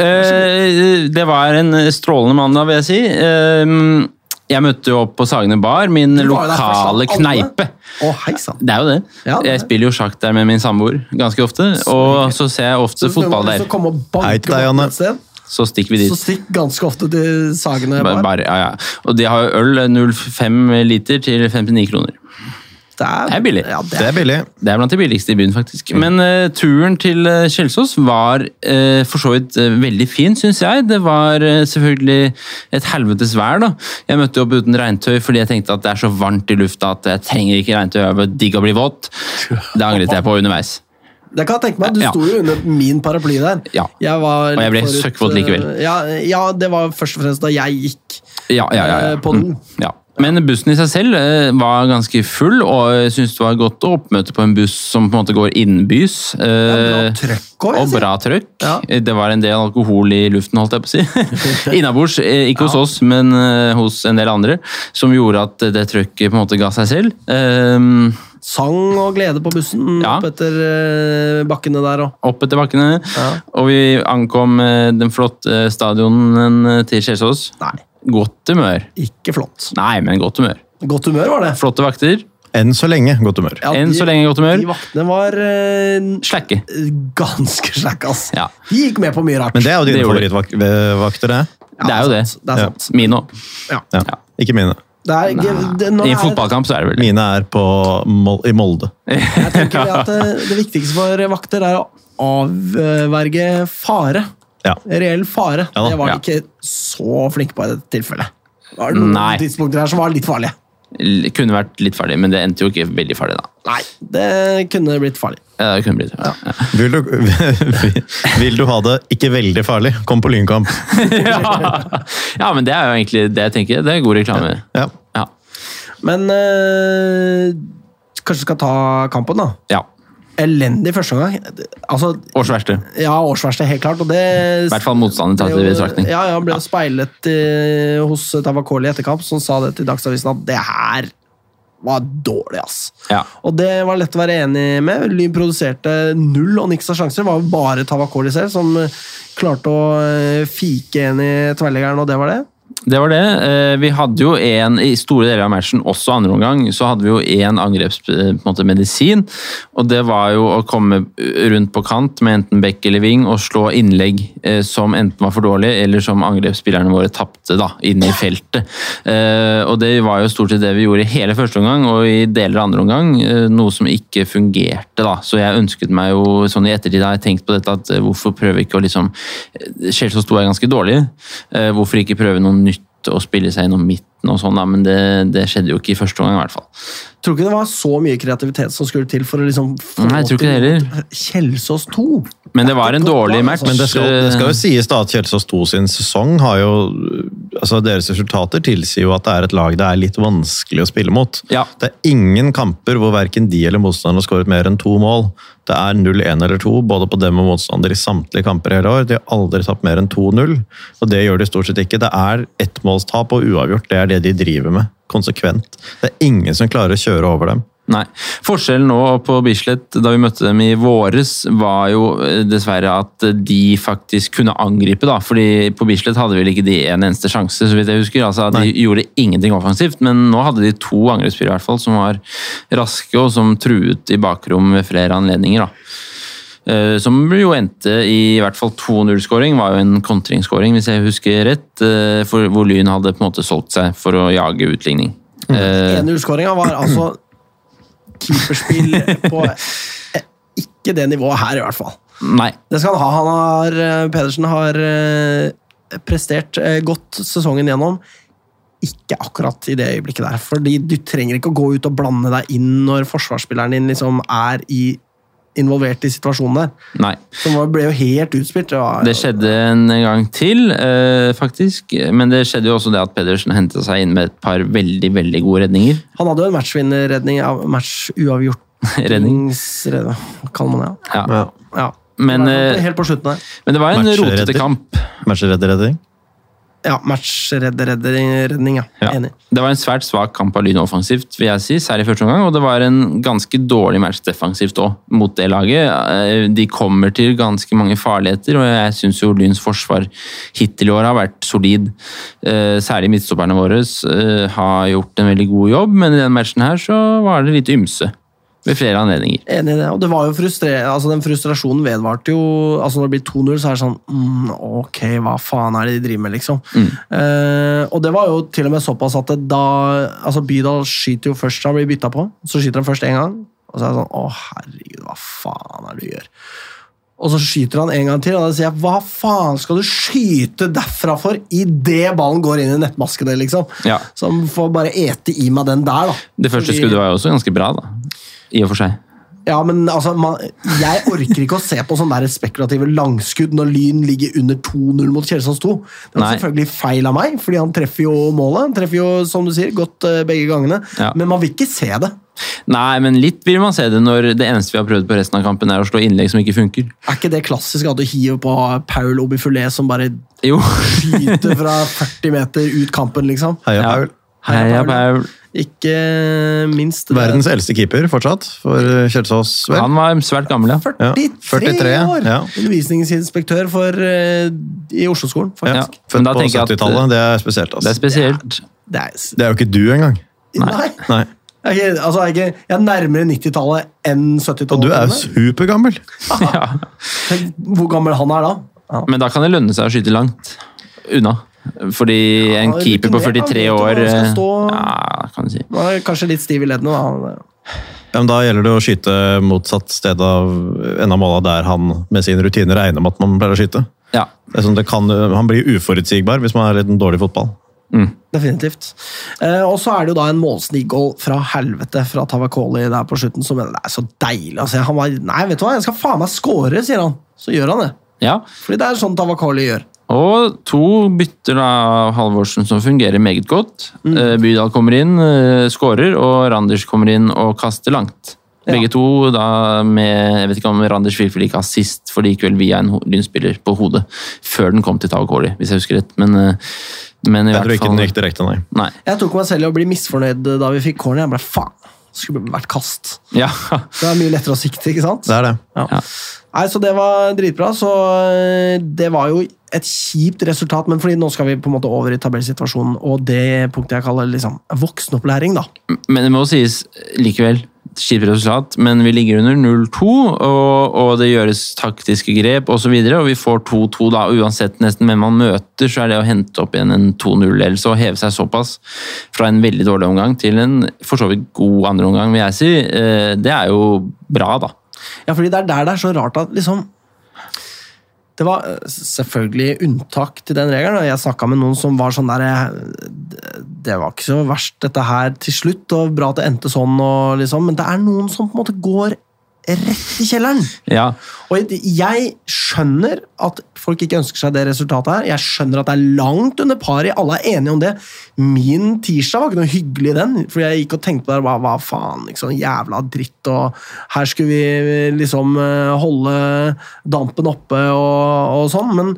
Speaker 2: Eh, det var en strålende mandag, vil jeg si. Eh, jeg møtte jo opp på Sagene Bar, min
Speaker 1: Du var jo der
Speaker 2: lokale
Speaker 1: først av alle.
Speaker 2: kneipe.
Speaker 1: Å, hei sann.
Speaker 2: Det er jo det.
Speaker 1: Ja, det er
Speaker 2: Jeg
Speaker 1: det.
Speaker 2: spiller jo sjakk der med min samboer ganske ofte. Og så ser jeg ofte fotball der.
Speaker 3: Hei
Speaker 1: Hei
Speaker 3: til deg, Janne.
Speaker 2: Så stikker vi
Speaker 1: Så
Speaker 2: dit.
Speaker 1: stikk ganske ofte til Sagene.
Speaker 2: Bare,
Speaker 1: Bar.
Speaker 2: bare, ja, ja. Og de har jo øl 0,5 liter til 59 kroner. Det er billig.
Speaker 1: Ja, det
Speaker 3: Det er
Speaker 1: er,
Speaker 3: billig.
Speaker 2: Det er blant de billigste i byen, faktisk. Men eh, turen til eh, Kjelsås var eh, for så vidt eh, veldig fin, syns jeg. Det var eh, selvfølgelig et helvetes vær, da. Jeg møtte opp uten regntøy fordi jeg tenkte at det er så varmt i lufta at jeg trenger ikke regntøy. Jeg var digg å bli våt. Det angret jeg på underveis.
Speaker 1: det kan jeg tenke meg. Du
Speaker 2: Ja.
Speaker 1: sto jo under min paraply der.
Speaker 2: Ja.
Speaker 1: Jeg var
Speaker 2: Og jeg ble
Speaker 1: litt
Speaker 2: søkkvåt
Speaker 1: eh,
Speaker 2: likevel.
Speaker 1: Ja, ja, det var først og fremst da jeg gikk.
Speaker 2: Ja, ja, ja.
Speaker 1: Eh,
Speaker 2: ja.
Speaker 1: på do.
Speaker 2: Mm, ja. Men bussen i seg selv eh, var ganske full, og jeg syns det var godt å oppmøte på en buss som på en måte går innenbys.
Speaker 1: Bra
Speaker 2: eh,
Speaker 1: trøkk òg,
Speaker 2: og bra trøkk.
Speaker 1: Ja.
Speaker 2: Eh, Det var en del alkohol i luften, holdt jeg på å si. Innabords, eh, ikke hos oss, men eh, hos en del andre, som gjorde at det trøkket på en måte ga seg selv. Ehm,
Speaker 1: Sang og glede på bussen
Speaker 2: Ja.
Speaker 1: opp etter eh, bakkene der òg.
Speaker 2: opp etter bakkene,
Speaker 1: Ja.
Speaker 2: og vi ankom eh, den flotte stadionen eh, til Kjelsås.
Speaker 1: Nei,
Speaker 2: Godt humør.
Speaker 1: ikke flott.
Speaker 2: Nei, men godt humør.
Speaker 1: Godt humør var det.
Speaker 2: Flotte vakter.
Speaker 3: Enn så lenge godt humør.
Speaker 1: Ja,
Speaker 2: Enn
Speaker 1: de-
Speaker 2: så lenge godt humør.
Speaker 1: De vaktene var eh,
Speaker 2: Slacke.
Speaker 1: ganske slack, ass.
Speaker 2: Ja.
Speaker 1: De gikk med på mye rart.
Speaker 3: Men det er jo dine
Speaker 2: Det gjorde de.
Speaker 3: favorittvakter, det.
Speaker 1: Ja,
Speaker 2: det er jo det.
Speaker 1: sant, Det er
Speaker 3: Ja.
Speaker 1: sant.
Speaker 2: Mine òg.
Speaker 3: Ja.
Speaker 2: Ja.
Speaker 3: Ikke mine.
Speaker 1: Det er, det, det, nå
Speaker 2: I en
Speaker 1: er-
Speaker 2: fotballkamp så er det vel det.
Speaker 3: Mine er på Mol i Molde.
Speaker 1: Jeg tenker det at det, det viktigste for vakter er å avverge fare.
Speaker 3: Ja.
Speaker 1: Reell fare.
Speaker 3: Ja da,
Speaker 1: det var de
Speaker 2: ja.
Speaker 1: ikke så flinke på i dette tilfellet. Det var noen
Speaker 2: Nei.
Speaker 1: tidspunkter her som var litt farlige.
Speaker 2: L- Kunne vært litt farlig, men det endte jo ikke veldig farlig, da.
Speaker 1: Nei, det kunne blitt farlig.
Speaker 2: Ja, det kunne blitt ja.
Speaker 3: Vil du, vil du ha det ikke veldig farlig, kom på Lynkamp.
Speaker 2: Ja. ja, men det er jo egentlig det jeg tenker. Det er god reklame.
Speaker 3: Ja.
Speaker 2: Ja.
Speaker 1: Men eh, kanskje vi skal ta kampen, da.
Speaker 2: ja.
Speaker 1: Elendig første omgang. Altså,
Speaker 2: Års verste.
Speaker 1: Ja, årsverste, helt klart. Og det
Speaker 2: I hvert fall motstanden tatt i
Speaker 1: ble jo-
Speaker 2: betraktning.
Speaker 1: Ja, ja, ble jo eh, speilet eh, hos Tavakoli i etterkamp, som sa det til Dagsavisen at det her var dårlig, ass.
Speaker 2: Ja.
Speaker 1: Og det var lett å være enig med. Lyn produserte null og niks av sjanser. Det var jo bare Tavakoli selv som eh, klarte å eh, fike en i tverrleggeren, og det var det.
Speaker 2: Det var det. Eh, Vi hadde jo en i store deler av matchen, også andre omgang, så hadde vi jo eh, én angrepsmedisin. Og det var jo å komme rundt på kant med enten bekk eller ving og slå innlegg eh, som enten var for dårlige, eller som angrepsspillerne våre tapte da, inne i feltet. Eh, Og det var jo stort sett det vi gjorde i hele første omgang og i deler av andre omgang, eh, noe som ikke fungerte. da. Så jeg ønsket meg jo sånn i ettertid har jeg tenkt på dette at eh, hvorfor prøve ikke å liksom Chelsea sto er ganske dårlig. Eh, Hvorfor ikke prøve noe nytt og spille seg gjennom midten og sånn, da, men det, det skjedde jo ikke i første omgang i hvert fall.
Speaker 1: Tror ikke det var så mye kreativitet som skulle til for å liksom få
Speaker 2: Nei, jeg tror ikke det heller.
Speaker 1: Kjelsås 2.
Speaker 2: Men det var en sånn
Speaker 1: Godt
Speaker 2: dårlig
Speaker 1: lag,
Speaker 2: match.
Speaker 1: altså.
Speaker 2: eh,
Speaker 3: Men det skal, det skal jo sies da at Kjelsås 2 sin sesong har jo altså Deres resultater tilsier jo at det er et lag det er litt vanskelig å spille mot.
Speaker 2: Ja.
Speaker 3: Det er ingen kamper hvor verken de eller motstanderen har skåret mer enn to mål. Det er 0-1 eller 2 både på dem og motstander i samtlige kamper hele år. De har aldri tapt mer enn 2-0, og det gjør de stort sett ikke. Det er ettmålstap og uavgjort. Det er det de driver med konsekvent. Det er ingen som klarer å kjøre over dem.
Speaker 2: Nei. Forskjellen nå på Bislett, da vi møtte dem i våres, var jo eh, dessverre at de faktisk kunne angripe, da. fordi på Bislett hadde vel ikke de en eneste sjanse, så vidt jeg husker. Altså, de gjorde ingenting offensivt, men nå hadde de to angrepsspillere i hvert fall, som var raske, og som truet i bakrom ved flere anledninger. da. Eh, Som jo endte i i hvert fall 2-0-skåring, var jo en kontringsskåring, hvis jeg husker rett. eh, For, hvor Lyn hadde på en måte solgt seg for å jage utligning. Eh,
Speaker 1: 1-0-skåringa var altså keeperspill på eh, ikke det nivået her, i hvert fall.
Speaker 2: Nei.
Speaker 1: Det skal han ha. Han har, eh, Pedersen har eh, prestert eh, godt sesongen gjennom. Ikke akkurat i det øyeblikket der. Fordi du trenger ikke å gå ut og blande deg inn når forsvarsspilleren din liksom er i, involvert i situasjonen der.
Speaker 2: Nei.
Speaker 1: Så man ble jo helt utspilt. Det, var,
Speaker 2: Det skjedde en gang til, eh, faktisk. Men det skjedde jo også det at Pedersen henta seg inn med et par veldig veldig gode redninger.
Speaker 1: Han hadde jo en matchvinnerredning. av- Matchuavgjort.
Speaker 2: Redning.
Speaker 1: Redning. Hva kaller man det?
Speaker 2: Ja.
Speaker 1: Ja.
Speaker 2: Men,
Speaker 1: Det var
Speaker 2: eh,
Speaker 1: Helt på slutten der.
Speaker 2: Men det var en
Speaker 3: Matcher
Speaker 2: rotete
Speaker 3: redder.
Speaker 2: kamp.
Speaker 3: Matcheredd-redding.
Speaker 1: Ja, matchredning, ja.
Speaker 2: Ja.
Speaker 1: Enig.
Speaker 2: Det var en svært svak kamp av Lyn offensivt, vil jeg si, særlig i første omgang. Og det var en ganske dårlig match defensivt òg, mot det laget. Eh, De kommer til ganske mange farligheter, og jeg syns jo Lyns forsvar hittil i år har vært solid. Eh, Særlig midtstopperne våre eh, har gjort en veldig god jobb, men i den matchen her så var det litt ymse. Ved flere anledninger.
Speaker 1: Enig i det. Og det var jo frustrerende. Altså, den frustrasjonen vedvarte jo altså Når det blir 2-0, så er det sånn mm, Ok, hva faen er det de driver med, liksom?
Speaker 2: Mm.
Speaker 1: Eh, og det var jo til og med såpass at det da Altså, Bydal skyter jo først da han blir bytta på. Så skyter han først én gang, og så er det sånn Å, herregud, hva faen er det du gjør? Og så skyter han en gang til, og da sier jeg hva faen skal du skyte derfra for idet ballen går inn i nettmaskene, liksom?
Speaker 2: Ja.
Speaker 1: Så han får bare ete i meg den der, da.
Speaker 2: Det første
Speaker 1: Fordi-
Speaker 2: skuddet var jo også ganske bra, da. I og for seg.
Speaker 1: Ja, men altså, man, Jeg orker ikke å se på sånne der spekulative langskudd når Lyn ligger under 2-0 mot Kjelsås 2. Det var
Speaker 2: Nei.
Speaker 1: selvfølgelig feil av meg, fordi han treffer jo målet. Han treffer jo, som du sier, godt eh, begge gangene.
Speaker 2: Ja.
Speaker 1: Men man vil ikke se det.
Speaker 2: Nei, men litt vil man se det når det eneste vi har prøvd på resten av kampen, er å slå innlegg som ikke funker.
Speaker 1: Er ikke det klassisk at du hiver på Paul Obifulé som bare
Speaker 2: Jo.
Speaker 1: skyter fra 40 meter ut kampen, liksom?
Speaker 3: Heia,
Speaker 2: Ja.
Speaker 3: Paul.
Speaker 2: Heia, Paul.
Speaker 1: Ikke minst det.
Speaker 3: Verdens eldste keeper fortsatt, for eh, Kjelsås, vel?
Speaker 2: Han var svært gammel, ja.
Speaker 1: 43,
Speaker 3: ja.
Speaker 1: år!
Speaker 3: Ja.
Speaker 1: Undervisningsinspektør for, eh, i Oslo-skolen,
Speaker 2: Ja.
Speaker 1: faktisk.
Speaker 3: Født
Speaker 2: Men da
Speaker 3: på
Speaker 2: tenker jeg at-
Speaker 3: 70-tallet, det er spesielt.
Speaker 2: Det er
Speaker 3: Altså.
Speaker 2: spesielt.
Speaker 1: Det er, s-
Speaker 3: Det er jo ikke du engang.
Speaker 1: nei.
Speaker 3: Nei.
Speaker 1: Jeg er, ikke, altså, jeg, er ikke, jeg er nærmere 90-tallet enn 70-tallet.
Speaker 3: Og du er jo supergammel!
Speaker 2: Ja.
Speaker 1: Tenk Hvor gammel han er da? Ja.
Speaker 2: Men da kan det lønne seg å skyte langt unna. Fordi en
Speaker 1: det er
Speaker 2: keeper på
Speaker 1: litt ned, da,
Speaker 2: 43
Speaker 1: vet du,
Speaker 2: år
Speaker 1: når han skal
Speaker 2: eh,
Speaker 1: stå-
Speaker 2: Ja, kan du si.
Speaker 1: Han er kanskje litt stiv i leddene. Da.
Speaker 3: Ja, men da gjelder det å skyte motsatt sted av en av måla der han med sin rutine regner med at man pleier å skyte.
Speaker 2: Ja.
Speaker 3: Det er sånn det kan, han blir uforutsigbar hvis man er litt dårlig i fotball.
Speaker 1: Definitivt. Eh, og så er det jo da en målsniggål fra helvete fra Tavakoli der på slutten. Som mener det er så deilig. Altså, han var, nei, vet du hva, jeg skal faen meg score, sier han. Så gjør han det.
Speaker 2: ja.
Speaker 1: Fordi det er sånn Tavakoli gjør.
Speaker 2: Og to bytter da av Halvorsen som fungerer meget godt. Eh, Bydal kommer inn, eh, skårer, og Randers kommer inn og kaster langt.
Speaker 1: Ja.
Speaker 2: Begge to da med Jeg vet ikke om Randers virkelig ikke assist, for det gikk vel via en ho- lynspiller på hodet før den kom til Tau Kåli, hvis jeg husker rett. Men eh, Men i
Speaker 3: Jeg tror
Speaker 2: hvert
Speaker 3: ikke
Speaker 2: fall
Speaker 3: den gikk direkte, nei.
Speaker 2: Nei.
Speaker 1: Jeg tok meg selv i å bli misfornøyd da vi fikk corner. Jeg ble faen, det skulle vært kast.
Speaker 2: Ja.
Speaker 1: Det er mye lettere å sikte, ikke sant?
Speaker 3: Det er det.
Speaker 1: Ja.
Speaker 2: Ja.
Speaker 1: Nei, så det var dritbra. Så eh, det var jo et kjipt resultat, men fordi nå skal vi på en måte over i tabellsituasjonen, og det punktet jeg kaller liksom voksenopplæring, da.
Speaker 2: Men det må sies likevel. Kjipt resultat, men vi ligger under 0-2, og, og det gjøres taktiske grep osv. Og, så videre, og vi får 2-2 da, uansett nesten hvem man møter, så er det å hente opp igjen en 2-0-ledelse og heve seg såpass fra en veldig dårlig omgang til en for så vidt god andre omgang, vil jeg si. eh, Det er jo bra, da.
Speaker 1: Ja, fordi det er der det er så rart at liksom Det var eh, selvfølgelig unntak til den regelen, og jeg snakka med noen som var sånn der eh, det- Det var ikke så verst, dette her, til slutt, og bra at det endte sånn, og liksom Men det er noen som på en måte går rett i kjelleren.
Speaker 2: Ja,
Speaker 1: Og jeg- jeg skjønner at folk ikke ønsker seg det resultatet her. Jeg skjønner at det er langt under par i, alle er enige om det. Min tirsdag var ikke noe hyggelig den, for jeg gikk og tenkte på det, hva, hva faen, ikke sånn jævla dritt, og her skulle vi liksom eh, holde dampen oppe og, og sånn, men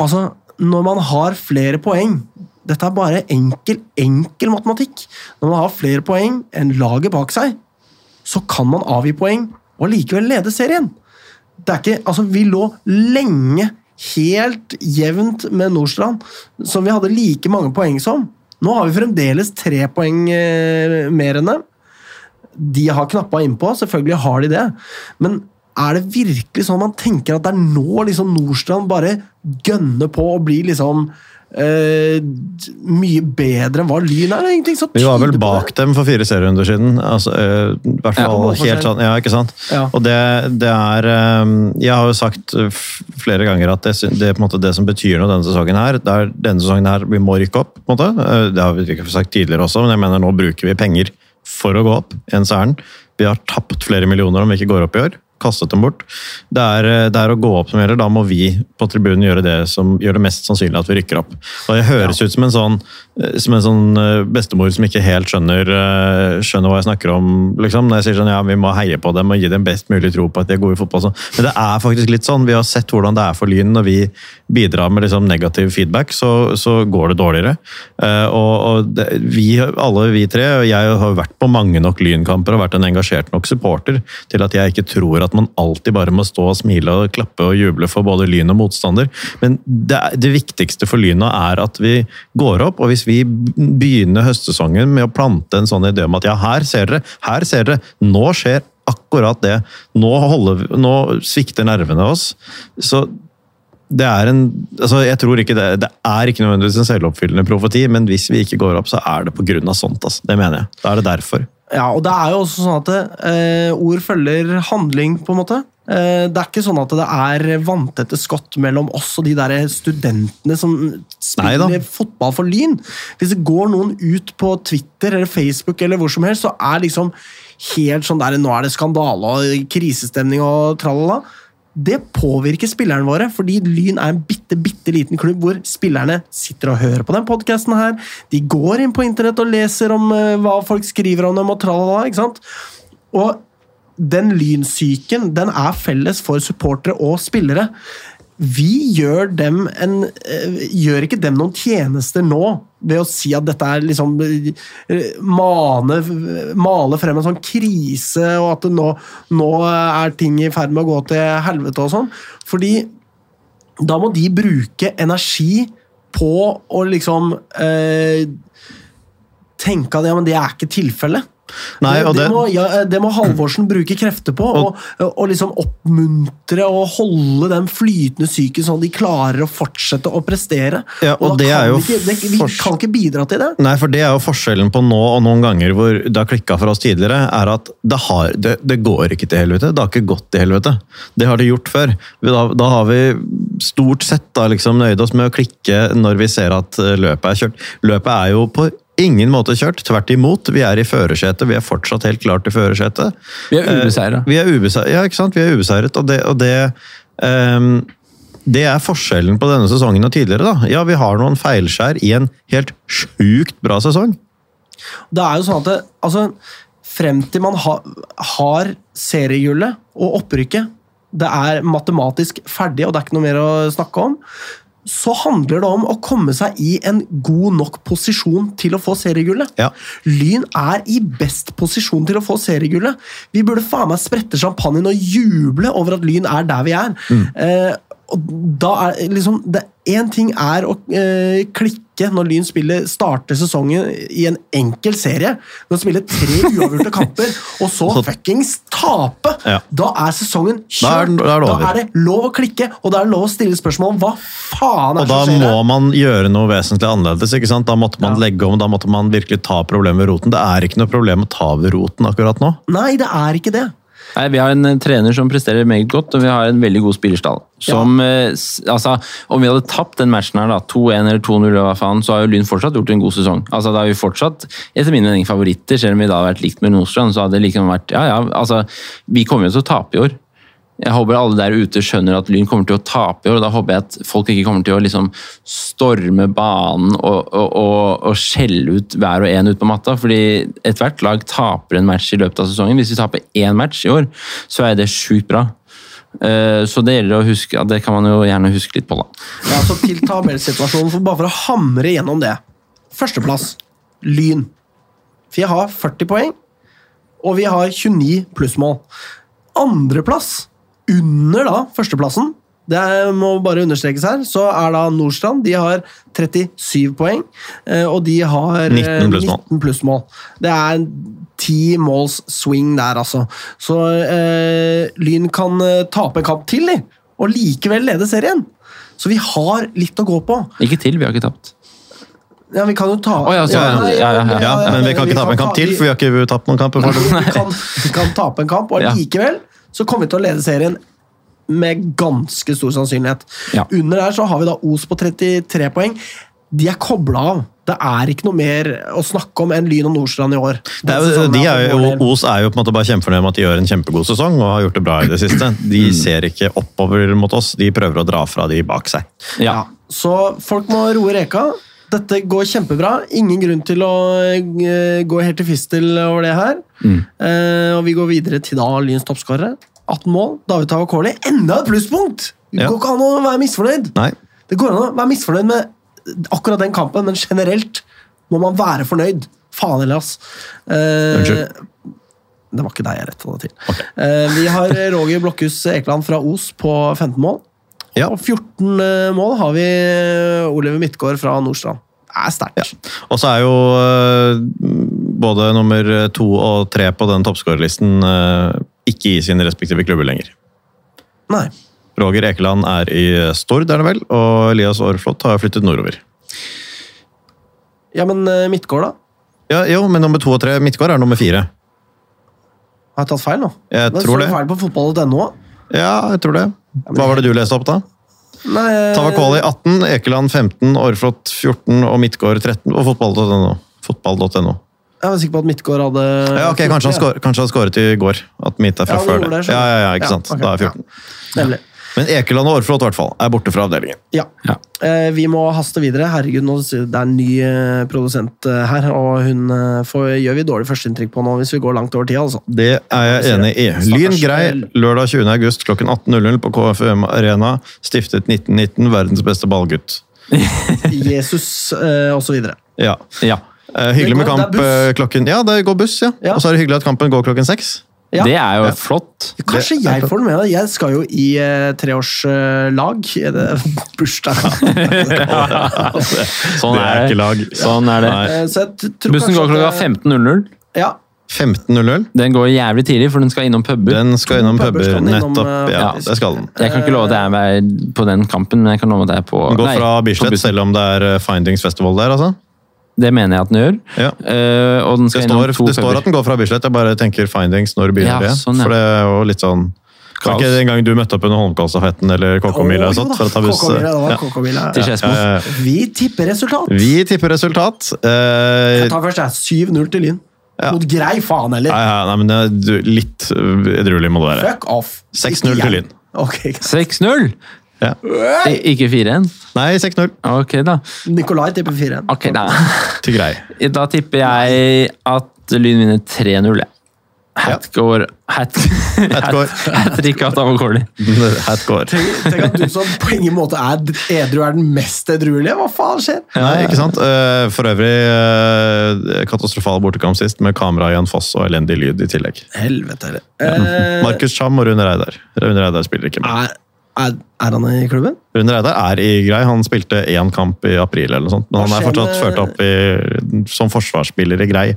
Speaker 1: altså, når man har flere poeng, dette er bare enkel, enkel matematikk, når man har flere poeng enn laget bak seg, så kan man avgi poeng og likevel lede serien. Det er ikke, altså Vi lå lenge helt jevnt med Nordstrand, som vi hadde like mange poeng som. Nå har vi fremdeles tre poeng eh, mer enn dem. De har knappa innpå, selvfølgelig har de det. Men er det virkelig sånn man tenker at det er nå liksom Nordstrand bare gønner på og blir liksom eh, mye bedre enn hva Lyn er? Det er ingenting som
Speaker 3: Vi var vel
Speaker 1: tyder på det.
Speaker 3: bak dem for fire serierunder siden. Altså, eh, i hvert
Speaker 1: Ja, på
Speaker 3: fall
Speaker 1: målforskjell.
Speaker 3: helt sånn, ja, ikke sant?
Speaker 1: Ja.
Speaker 3: Og det, det er eh, Jeg har jo sagt eh, f- flere ganger at det, sy- det, er på en måte, det som betyr noe denne sesongen her, det er denne sesongen her vi må rykke opp. på en måte. Eh, Det har vi ikke sagt tidligere også, men jeg mener nå bruker vi penger for å gå opp. Jens Erlend. Vi har tapt flere millioner om vi ikke går opp i år. Kastet dem bort. Det er, eh, det er å gå opp som gjelder. Da må vi på tribunen gjøre det som gjør det mest sannsynlig at vi rykker opp. Og Det høres ut som en sånn, eh, som en sånn eh, bestemor som ikke helt skjønner, eh, skjønner hva jeg snakker om. Liksom. Når jeg sier sånn, ja, vi må heie på dem og gi dem best mulig tro på at de er gode i fotball. og Sånn. Men det er faktisk litt sånn. Vi har sett hvordan det er for Lyn når vi bidrar med liksom, negativ feedback, så, så går det dårligere. Eh, og, og det, vi, alle vi tre, og jeg har vært på mange nok Lynkamper og vært en engasjert nok supporter til at jeg ikke tror at man alltid bare må stå og smile og klappe og juble for både Lyn og motstander. Men det, er- det viktigste for Lyna er at vi går opp, og hvis vi begynner høstsesongen med å plante en sånn idé om at ja, her ser dere, her ser dere, nå skjer akkurat det. Nå, holder, vi- nå svikter nervene oss. Så det er en altså jeg tror ikke det, det er ikke nødvendigvis en selvoppfyllende profeti, men hvis vi ikke går opp, så er det på grunn av sånt. Altså. Det mener jeg. Da er det derfor.
Speaker 1: Ja, og det er jo også sånn at eh, ord følger handling, på en måte. Eh, det er ikke sånn at det er vanntette skott mellom oss og de der studentene som spiller
Speaker 3: Neida.
Speaker 1: fotball for Lyn. Hvis det går noen ut på Twitter eller Facebook eller hvor som helst, så er liksom helt sånn der Nå er det skandale og krisestemning og tralala. Det påvirker spillerne våre, fordi Lyn er en bitte, bitte liten klubb hvor spillerne sitter og hører på den podkasten her. De går inn på internett og leser om eh, hva folk skriver om dem og tralala, ikke sant? Og den lynsyken, den er felles for supportere og spillere. Vi gjør, dem en, eh, gjør ikke dem noen tjenester nå ved å si at dette er liksom eh, mane, Male frem en sånn krise, og at det nå, nå er ting i ferd med å gå til helvete og sånn. Fordi da må de bruke energi på å liksom eh, tenke at ja, men det er ikke tilfellet.
Speaker 3: Nei,
Speaker 1: det,
Speaker 3: og
Speaker 1: det,
Speaker 3: det-
Speaker 1: må, ja, eh, det må Halvorsen bruke krefter på, og, og liksom oppmuntre og holde den flytende psyken sånn at de klarer å fortsette å prestere.
Speaker 3: Ja,
Speaker 1: da
Speaker 3: og det
Speaker 1: kan
Speaker 3: er jo
Speaker 1: vi ikke, det, Vi
Speaker 3: fors-
Speaker 1: kan ikke bidra til det.
Speaker 3: Nei, for det er jo forskjellen på nå og noen ganger hvor det har klikka for oss tidligere, er at det, har, det, det går ikke til helvete. Det har ikke gått til helvete. Det har det gjort før. Vi Da, da har vi stort sett da liksom nøyd oss med å klikke når vi ser at eh, løpet er kjørt. Løpet er jo på ingen måte kjørt. Tvert imot. Vi er i førersetet. Vi er fortsatt helt klart i førersetet.
Speaker 2: Vi er ubeseira.
Speaker 3: Eh, Vi er ubeseiret, ja, ikke sant? Vi er ubeseiret, og det, og det ehm, det er forskjellen på denne sesongen og tidligere. da. Ja, Vi har noen feilskjær i en helt sjukt bra sesong.
Speaker 1: Det er jo sånn at det, altså, frem til man ha, har seriegullet og opprykket, det er matematisk ferdig, og det er ikke noe mer å snakke om, så handler det om å komme seg i en god nok posisjon til å få seriegullet.
Speaker 3: Ja.
Speaker 1: Lyn er i best posisjon til å få seriegullet. Vi burde faen meg sprette champagnen og juble over at Lyn er der vi er.
Speaker 3: Mm.
Speaker 1: Eh, og da er liksom det Én ting er å eh, klikke når Lyn spiller, starter sesongen i en enkel serie. Når de spiller tre uavgjorte kamper, og så fuckings tape!
Speaker 3: Ja.
Speaker 1: Da er sesongen
Speaker 3: Da er den-
Speaker 1: kjørt!
Speaker 3: da er det over.
Speaker 1: det lov å klikke, og det er lov å stille spørsmål om hva faen
Speaker 3: Og
Speaker 1: er
Speaker 3: da
Speaker 1: det som skjer
Speaker 3: må
Speaker 1: her.
Speaker 3: man gjøre noe vesentlig annerledes. ikke sant? Da måtte man legge om, da måtte man virkelig ta problemet ved roten. Det er ikke noe problem å ta ved roten akkurat nå.
Speaker 1: Nei, det er ikke det.
Speaker 2: Nei, Vi har en eh, trener som presterer meget godt, og vi har en veldig god spillerstall. Som, eh, s- altså, om vi hadde tapt den matchen her, da, 2-1 eller 2-0, eller hva faen, så har jo Lyn fortsatt gjort en god sesong. Altså, Da er vi fortsatt etter min mening favoritter, selv om vi da hadde vært likt med Nordstrand. så hadde det liksom vært, ja, ja, altså, Vi kommer jo til å tape i år. Jeg håper alle der ute skjønner at Lyn kommer til å tape i år, og da håper jeg at folk ikke kommer til å liksom storme banen og, og, og, og skjelle ut hver og en ut på matta. fordi ethvert lag taper en match i løpet av sesongen. Hvis vi taper én match i år, så er det sjukt bra. Eh, Så det gjelder å huske, ja, det kan man jo gjerne huske litt på, da.
Speaker 1: Ja, så Til tabellsituasjonen, for bare for å hamre gjennom det. Førsteplass Lyn. For jeg har 40 poeng, og vi har 29 plussmål. Andreplass, under da førsteplassen, det er- må bare understrekes her, så er da Nordstrand. De har 37 poeng, eh, og de har eh,
Speaker 3: 19 plussmål.
Speaker 1: 19 plussmål. Det er ti måls swing der, altså. Så eh, Lyn kan eh, tape en kamp til, de, og likevel lede serien. Så vi har litt å gå på.
Speaker 2: Ikke til, vi har ikke tapt.
Speaker 1: Ja, vi kan jo ta
Speaker 2: Å, ja, så-
Speaker 1: nei,
Speaker 2: ja, ja, ja.
Speaker 3: Ja, Men vi kan ikke tape en kamp til, for vi har ikke tapt noen kamper. for-
Speaker 1: vi kan, vi kan tape en kamp, og
Speaker 2: Ja.
Speaker 1: likevel så kommer vi til å lede serien med ganske stor sannsynlighet.
Speaker 2: Ja.
Speaker 1: Under der så har vi da Os på 33 poeng. De er kobla av. Det er ikke noe mer å snakke om enn Lyn og Nordstrand i år.
Speaker 3: Det Sånn er jo,
Speaker 1: Denne sesongen
Speaker 3: de
Speaker 1: her for
Speaker 3: er jo,
Speaker 1: vår del.
Speaker 3: Os er jo på en måte bare kjempefornøyd med at de gjør en kjempegod sesong og har gjort det bra i det siste. De ser ikke oppover mot oss, de prøver å dra fra de bak seg.
Speaker 2: Ja.
Speaker 1: Så folk må roe reka. Dette går kjempebra. Ingen grunn til å eh, gå helt til fistel over det her.
Speaker 3: Mm.
Speaker 1: Eh, og vi går videre til da Lyns toppskårere. 18 mål. David Tavakoli. Enda et plusspunkt! Det
Speaker 3: Ja.
Speaker 1: går ikke an å være misfornøyd.
Speaker 3: Nei.
Speaker 1: Det går an å være misfornøyd med akkurat den kampen, men generelt må man være fornøyd. Faen heller, ass. Eh,
Speaker 3: Unnskyld.
Speaker 1: Det var ikke deg jeg retta det til. Eh, vi har Roger Blokhus Ekeland fra Os på 15 mål.
Speaker 3: Ja.
Speaker 1: Og 14 eh, mål har vi eh, Oliver Midtgaard fra Nordstrand. Det er sterkt.
Speaker 3: Og så er jo øh, både nummer to og tre på den toppskårerlisten øh, ikke i sine respektive klubber lenger.
Speaker 1: Nei.
Speaker 3: Roger Ekeland er i Stord, er det vel, og Elias Aareflot har flyttet nordover.
Speaker 1: Ja, men eh, Midtgaard, da?
Speaker 3: Ja, jo, men nummer to og tre, Midtgaard, er nummer fire.
Speaker 1: Har jeg tatt feil nå?
Speaker 3: Jeg
Speaker 1: Da
Speaker 3: tror
Speaker 1: står
Speaker 3: det.
Speaker 1: feil på fotball.no òg.
Speaker 3: Ja, jeg tror det. Hva var det du leste opp, da?
Speaker 1: eh,
Speaker 3: Tavakoli 18, Ekeland 15, Aareflot 14 og Midtgaard 13 og fotball.no. Fotball.no.
Speaker 1: Jeg var sikker på at Midtgaard hadde
Speaker 3: Ja, ok, kanskje han, skår, kanskje han skåret i går. At mitt er fra
Speaker 1: Ja, han
Speaker 3: før
Speaker 1: gjorde
Speaker 3: det.
Speaker 1: det, skjønner
Speaker 3: Ja, ja, ja, ikke
Speaker 1: jeg.
Speaker 3: sant.
Speaker 1: Ja, ok,
Speaker 3: Da er 14.
Speaker 1: Nemlig.
Speaker 3: Men Ekeland og Aareflot i hvert fall, er borte fra avdelingen.
Speaker 1: Ja.
Speaker 2: Ja.
Speaker 1: Eh, vi må haste videre. Herregud, nå, det er en ny eh, produsent eh, her, og hun eh, får, gjør vi dårlig førsteinntrykk på nå hvis vi går langt over tida, altså.
Speaker 3: Det er jeg enig i. Lyn grei lørdag 20. august klokken 18.00 på KFUM Arena. Stiftet 1919, verdens beste ballgutt.
Speaker 1: Jesus, eh, og så videre.
Speaker 3: Ja.
Speaker 2: ja.
Speaker 3: Eh, hyggelig
Speaker 1: Det
Speaker 3: med
Speaker 1: går-
Speaker 3: kamp
Speaker 1: det er
Speaker 3: eh, klokken Ja, det går buss, ja.
Speaker 1: Ja.
Speaker 3: Og så er det hyggelig at kampen går klokken seks.
Speaker 1: Ja.
Speaker 2: Det er jo flott.
Speaker 1: Kanskje
Speaker 3: Det-
Speaker 1: jeg får den med. Jeg skal jo i eh, treårslag. Er det bursdag?
Speaker 2: Sånn
Speaker 3: Det er
Speaker 2: er
Speaker 3: ikke lag.
Speaker 2: det. Sånn er det.
Speaker 3: Nei.
Speaker 1: Eh, så jeg t- tror
Speaker 2: Bussen
Speaker 1: kanskje
Speaker 2: går klokka
Speaker 1: at jeg-
Speaker 2: 15.00.
Speaker 1: Ja.
Speaker 3: 15.00.
Speaker 2: Den går jævlig tidlig, for den skal innom puber.
Speaker 3: Den skal innom
Speaker 1: puber
Speaker 3: puber,
Speaker 1: skal den innom,
Speaker 3: nettopp.
Speaker 1: eh,
Speaker 3: Ja,
Speaker 1: faktisk.
Speaker 3: det skal den.
Speaker 2: Jeg kan ikke love at jeg er på den kampen, men jeg kan love at jeg er på
Speaker 3: Den går
Speaker 2: nei,
Speaker 3: fra
Speaker 2: på
Speaker 3: Bislett,
Speaker 2: bussen.
Speaker 3: selv om det er eh, Findings Festival der, altså.
Speaker 2: Det mener jeg at den gjør.
Speaker 3: Ja.
Speaker 2: Eh, og den
Speaker 3: Det
Speaker 2: skal
Speaker 3: står,
Speaker 2: innom to
Speaker 3: det står at den går fra Bislett, jeg bare tenker Findings, når begynner
Speaker 2: Ja,
Speaker 3: det?
Speaker 2: sånn, ja.
Speaker 3: For det er jo litt sånn Var
Speaker 2: Kaos.
Speaker 3: ikke det en gang du møtte opp under Holmenkollstafetten eller
Speaker 1: Å,
Speaker 3: Kåkkomila og
Speaker 1: jo da,
Speaker 3: sånt for å ta buss? eh,
Speaker 1: Kåkomila, det var
Speaker 3: Ja.
Speaker 1: Kåkomila.
Speaker 2: til Skedsmo.
Speaker 3: Eh,
Speaker 1: Vi tipper resultat.
Speaker 3: Vi tipper resultat. Eh,
Speaker 1: Jeg tar først, jeg. 7-0 til Lyn. Mot grei faen, eller?
Speaker 3: nei, nei, men det er du- litt eh, edruelig må det være.
Speaker 1: Fuck off.
Speaker 3: 6-0
Speaker 1: Ikke jeg.
Speaker 3: til Lyn.
Speaker 1: Ok, greit.
Speaker 2: 6-0!
Speaker 3: Ja.
Speaker 2: I- Ikke 4-1?
Speaker 3: Nei, 6-0
Speaker 2: Ok, da.
Speaker 1: Nikolai tipper 4-1.
Speaker 2: Ok, da.
Speaker 3: til grei.
Speaker 2: da tipper jeg at Lyn vinner 3-0. jeg. Hatgård
Speaker 3: Hatgård.
Speaker 2: Hattrikat av Gordie.
Speaker 3: Hat går.
Speaker 1: Tenk at du som på ingen måte er edru, er den mest edruelige. Hva faen skjer?
Speaker 3: Nei, ikke sant? Eh, For øvrig eh, katastrofal bortekamp sist, med kamera Jan Foss og elendig lyd i tillegg.
Speaker 1: Helvete heller. Eh,
Speaker 3: Markus Cham og Rune Reidar. Rune Reidar spiller ikke med.
Speaker 1: er, er, er han i klubben?
Speaker 3: Rune Reidar er i grei. Han spilte én kamp i april, eller noe sånt, men han er
Speaker 1: Hva skjer
Speaker 3: fortsatt
Speaker 1: med-
Speaker 3: ført opp i, som forsvarsspiller i grei.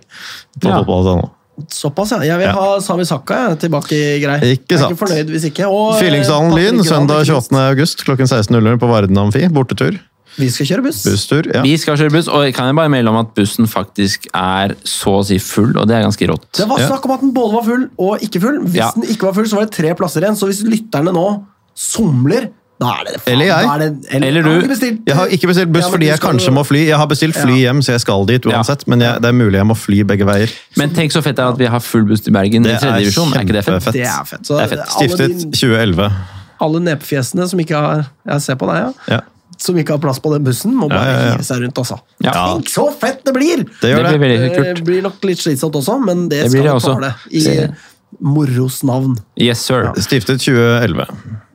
Speaker 3: på
Speaker 2: Ja.
Speaker 3: fotball.no.
Speaker 1: Såpass, ja. Jeg vil
Speaker 3: Ja.
Speaker 1: ha Sami Sakka jeg, tilbake i grei.
Speaker 3: Ikke
Speaker 1: jeg er
Speaker 3: sant.
Speaker 1: ikke fornøyd hvis ikke. Og, eh,
Speaker 3: Fyllingsdalen
Speaker 1: Patrick
Speaker 3: Lyn,
Speaker 1: Gran,
Speaker 3: søndag
Speaker 1: ikke minst.
Speaker 3: 28. august klokken 16.00 på Varden Amfi. Bortetur.
Speaker 1: Vi skal kjøre buss.
Speaker 3: Busstur. ja.
Speaker 2: Vi skal kjøre buss, og kan jeg bare melde om at bussen faktisk er så å si full, og det er ganske rått.
Speaker 1: Det var
Speaker 3: Ja.
Speaker 1: snakk om at den både var full og ikke full. Hvis
Speaker 2: Ja.
Speaker 1: den ikke var full, så var det tre plasser igjen. Så hvis lytterne nå somler, da er det faen.
Speaker 3: Eller jeg.
Speaker 1: Da er det, eller,
Speaker 2: Eller
Speaker 1: har
Speaker 2: du.
Speaker 1: ikke bestilt-
Speaker 3: Jeg har ikke bestilt buss
Speaker 1: Ja, men
Speaker 3: fordi
Speaker 1: du
Speaker 3: jeg
Speaker 1: skal
Speaker 3: kanskje
Speaker 1: jo-
Speaker 3: må fly. Jeg har bestilt fly
Speaker 1: Ja.
Speaker 3: hjem, så jeg skal dit uansett. Men jeg, det er mulig jeg må fly begge veier.
Speaker 2: Men tenk så fett det er at vi har full buss til Bergen i
Speaker 3: Det er
Speaker 2: tredje divisjon. Er ikke det fett?
Speaker 3: kjempefett.
Speaker 1: Det er fett. Så
Speaker 2: Det er fett.
Speaker 1: Alle, de,
Speaker 3: Stiftet 2011.
Speaker 1: alle nepefjesene som ikke har Jeg ser på deg, ja.
Speaker 3: Ja.
Speaker 1: Som ikke har plass på den bussen, må bare
Speaker 3: Ja, ja, ja.
Speaker 1: hive seg rundt, altså.
Speaker 2: Ja.
Speaker 1: Tenk så fett det blir!
Speaker 3: Det
Speaker 2: Det
Speaker 3: gjør
Speaker 2: blir
Speaker 3: det.
Speaker 2: veldig kult.
Speaker 1: Det blir nok litt slitsomt også, men det,
Speaker 2: Det blir
Speaker 1: skal vi
Speaker 2: det
Speaker 1: tåle.
Speaker 2: også.
Speaker 1: I
Speaker 2: Se.
Speaker 1: moros navn.
Speaker 2: Yes, sir.
Speaker 3: Stiftet 2011.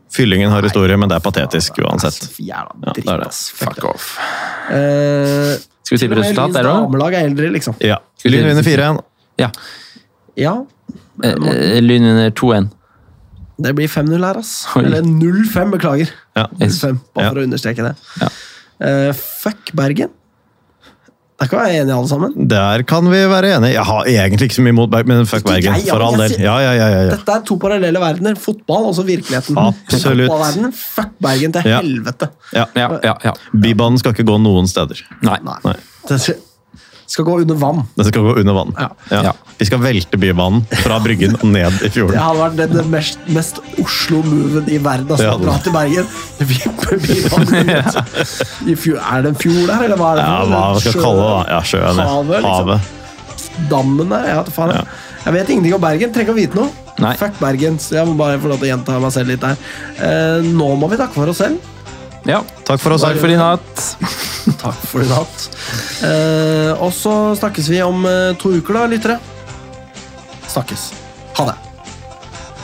Speaker 3: Fyllingen har historie, men det er patetisk uansett.
Speaker 1: Altså, Jævla
Speaker 3: Ja, det
Speaker 1: dritt,
Speaker 3: er det.
Speaker 1: ass. Fuck
Speaker 2: Fuck
Speaker 1: det.
Speaker 2: off.
Speaker 1: Eh,
Speaker 2: Skal vi
Speaker 1: til
Speaker 2: tippe
Speaker 1: og med
Speaker 2: resultat
Speaker 1: Lyns
Speaker 2: der òg?
Speaker 1: Damelag er eldre, liksom.
Speaker 3: Ja. Lyn vinner 4-1.
Speaker 2: Ja.
Speaker 1: Ja.
Speaker 2: Eh, eh, Lyn under 2-1.
Speaker 1: Det blir 5-0 her, ass.
Speaker 2: Oi.
Speaker 1: Eller 0-5, beklager.
Speaker 3: Ja.
Speaker 1: 0-5, bare
Speaker 3: Ja.
Speaker 1: for å understreke det.
Speaker 2: Ja.
Speaker 1: Eh, fuck Bergen. Der kan vi være enige, alle sammen.
Speaker 3: Der kan vi være enige. Jeg har egentlig ikke så mye mot Bergen, men fuck
Speaker 1: Ikke jeg,
Speaker 3: Bergen.
Speaker 1: ja,
Speaker 3: For
Speaker 1: men
Speaker 3: all
Speaker 1: jeg
Speaker 3: del.
Speaker 1: sier-
Speaker 3: Ja, ja, ja. ja, ja.
Speaker 1: Dette er to parallelle verdener. Fotball og så virkeligheten.
Speaker 3: Absolutt.
Speaker 1: Fotballverdenen, fuck Bergen til
Speaker 3: Ja.
Speaker 1: helvete.
Speaker 3: ja.
Speaker 2: Ja, ja, ja.
Speaker 3: Bybanen skal ikke gå noen steder.
Speaker 2: Nei.
Speaker 1: Nei.
Speaker 3: Nei.
Speaker 1: Det skal- skal gå under vann.
Speaker 3: Den skal gå under vann.
Speaker 1: Ja.
Speaker 2: Ja.
Speaker 3: Ja. Vi skal velte Bybanen fra Bryggen og ned i
Speaker 1: Det
Speaker 3: fjorden.
Speaker 1: hadde vært den- den mest, mest Oslo-moven i verden. Altså,
Speaker 3: Ja,
Speaker 1: å Dra
Speaker 3: det-
Speaker 1: til Bergen. Vi, vi I fjor, er det en fjord der, eller hva er det?
Speaker 3: Ja,
Speaker 1: for
Speaker 3: hva
Speaker 1: noe?
Speaker 3: skal
Speaker 1: Sjø-
Speaker 3: vi kalle det? da? Ja, sjøen. ja.
Speaker 1: Havet, liksom.
Speaker 3: Havet.
Speaker 1: Dammen der? Jeg vet, faen, jeg. jeg vet ingenting om Bergen. Trenger ikke å vite noe.
Speaker 2: Nei.
Speaker 1: Fuck Bergen. Så jeg må bare få lov til å gjenta meg selv litt der. Eh, nå må vi takke for oss selv.
Speaker 2: Ja.
Speaker 3: Takk for oss.
Speaker 2: Takk for i natt.
Speaker 1: Takk for i natt. Eh, og så snakkes vi om eh, to uker, da, lyttere. Snakkes. Ha det.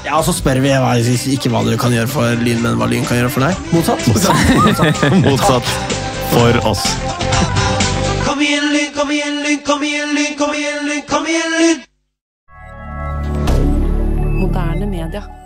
Speaker 1: Ja, og så spør vi hva, ikke hva du kan gjøre for Lyn, men hva Lyn kan gjøre for deg. Motsatt.
Speaker 3: Motsatt for oss.
Speaker 4: Kom igjen, Lyn, kom igjen, Lyn, kom igjen, Lyn, kom igjen, Lyn, kom igjen, Lyn!
Speaker 5: Moderne media.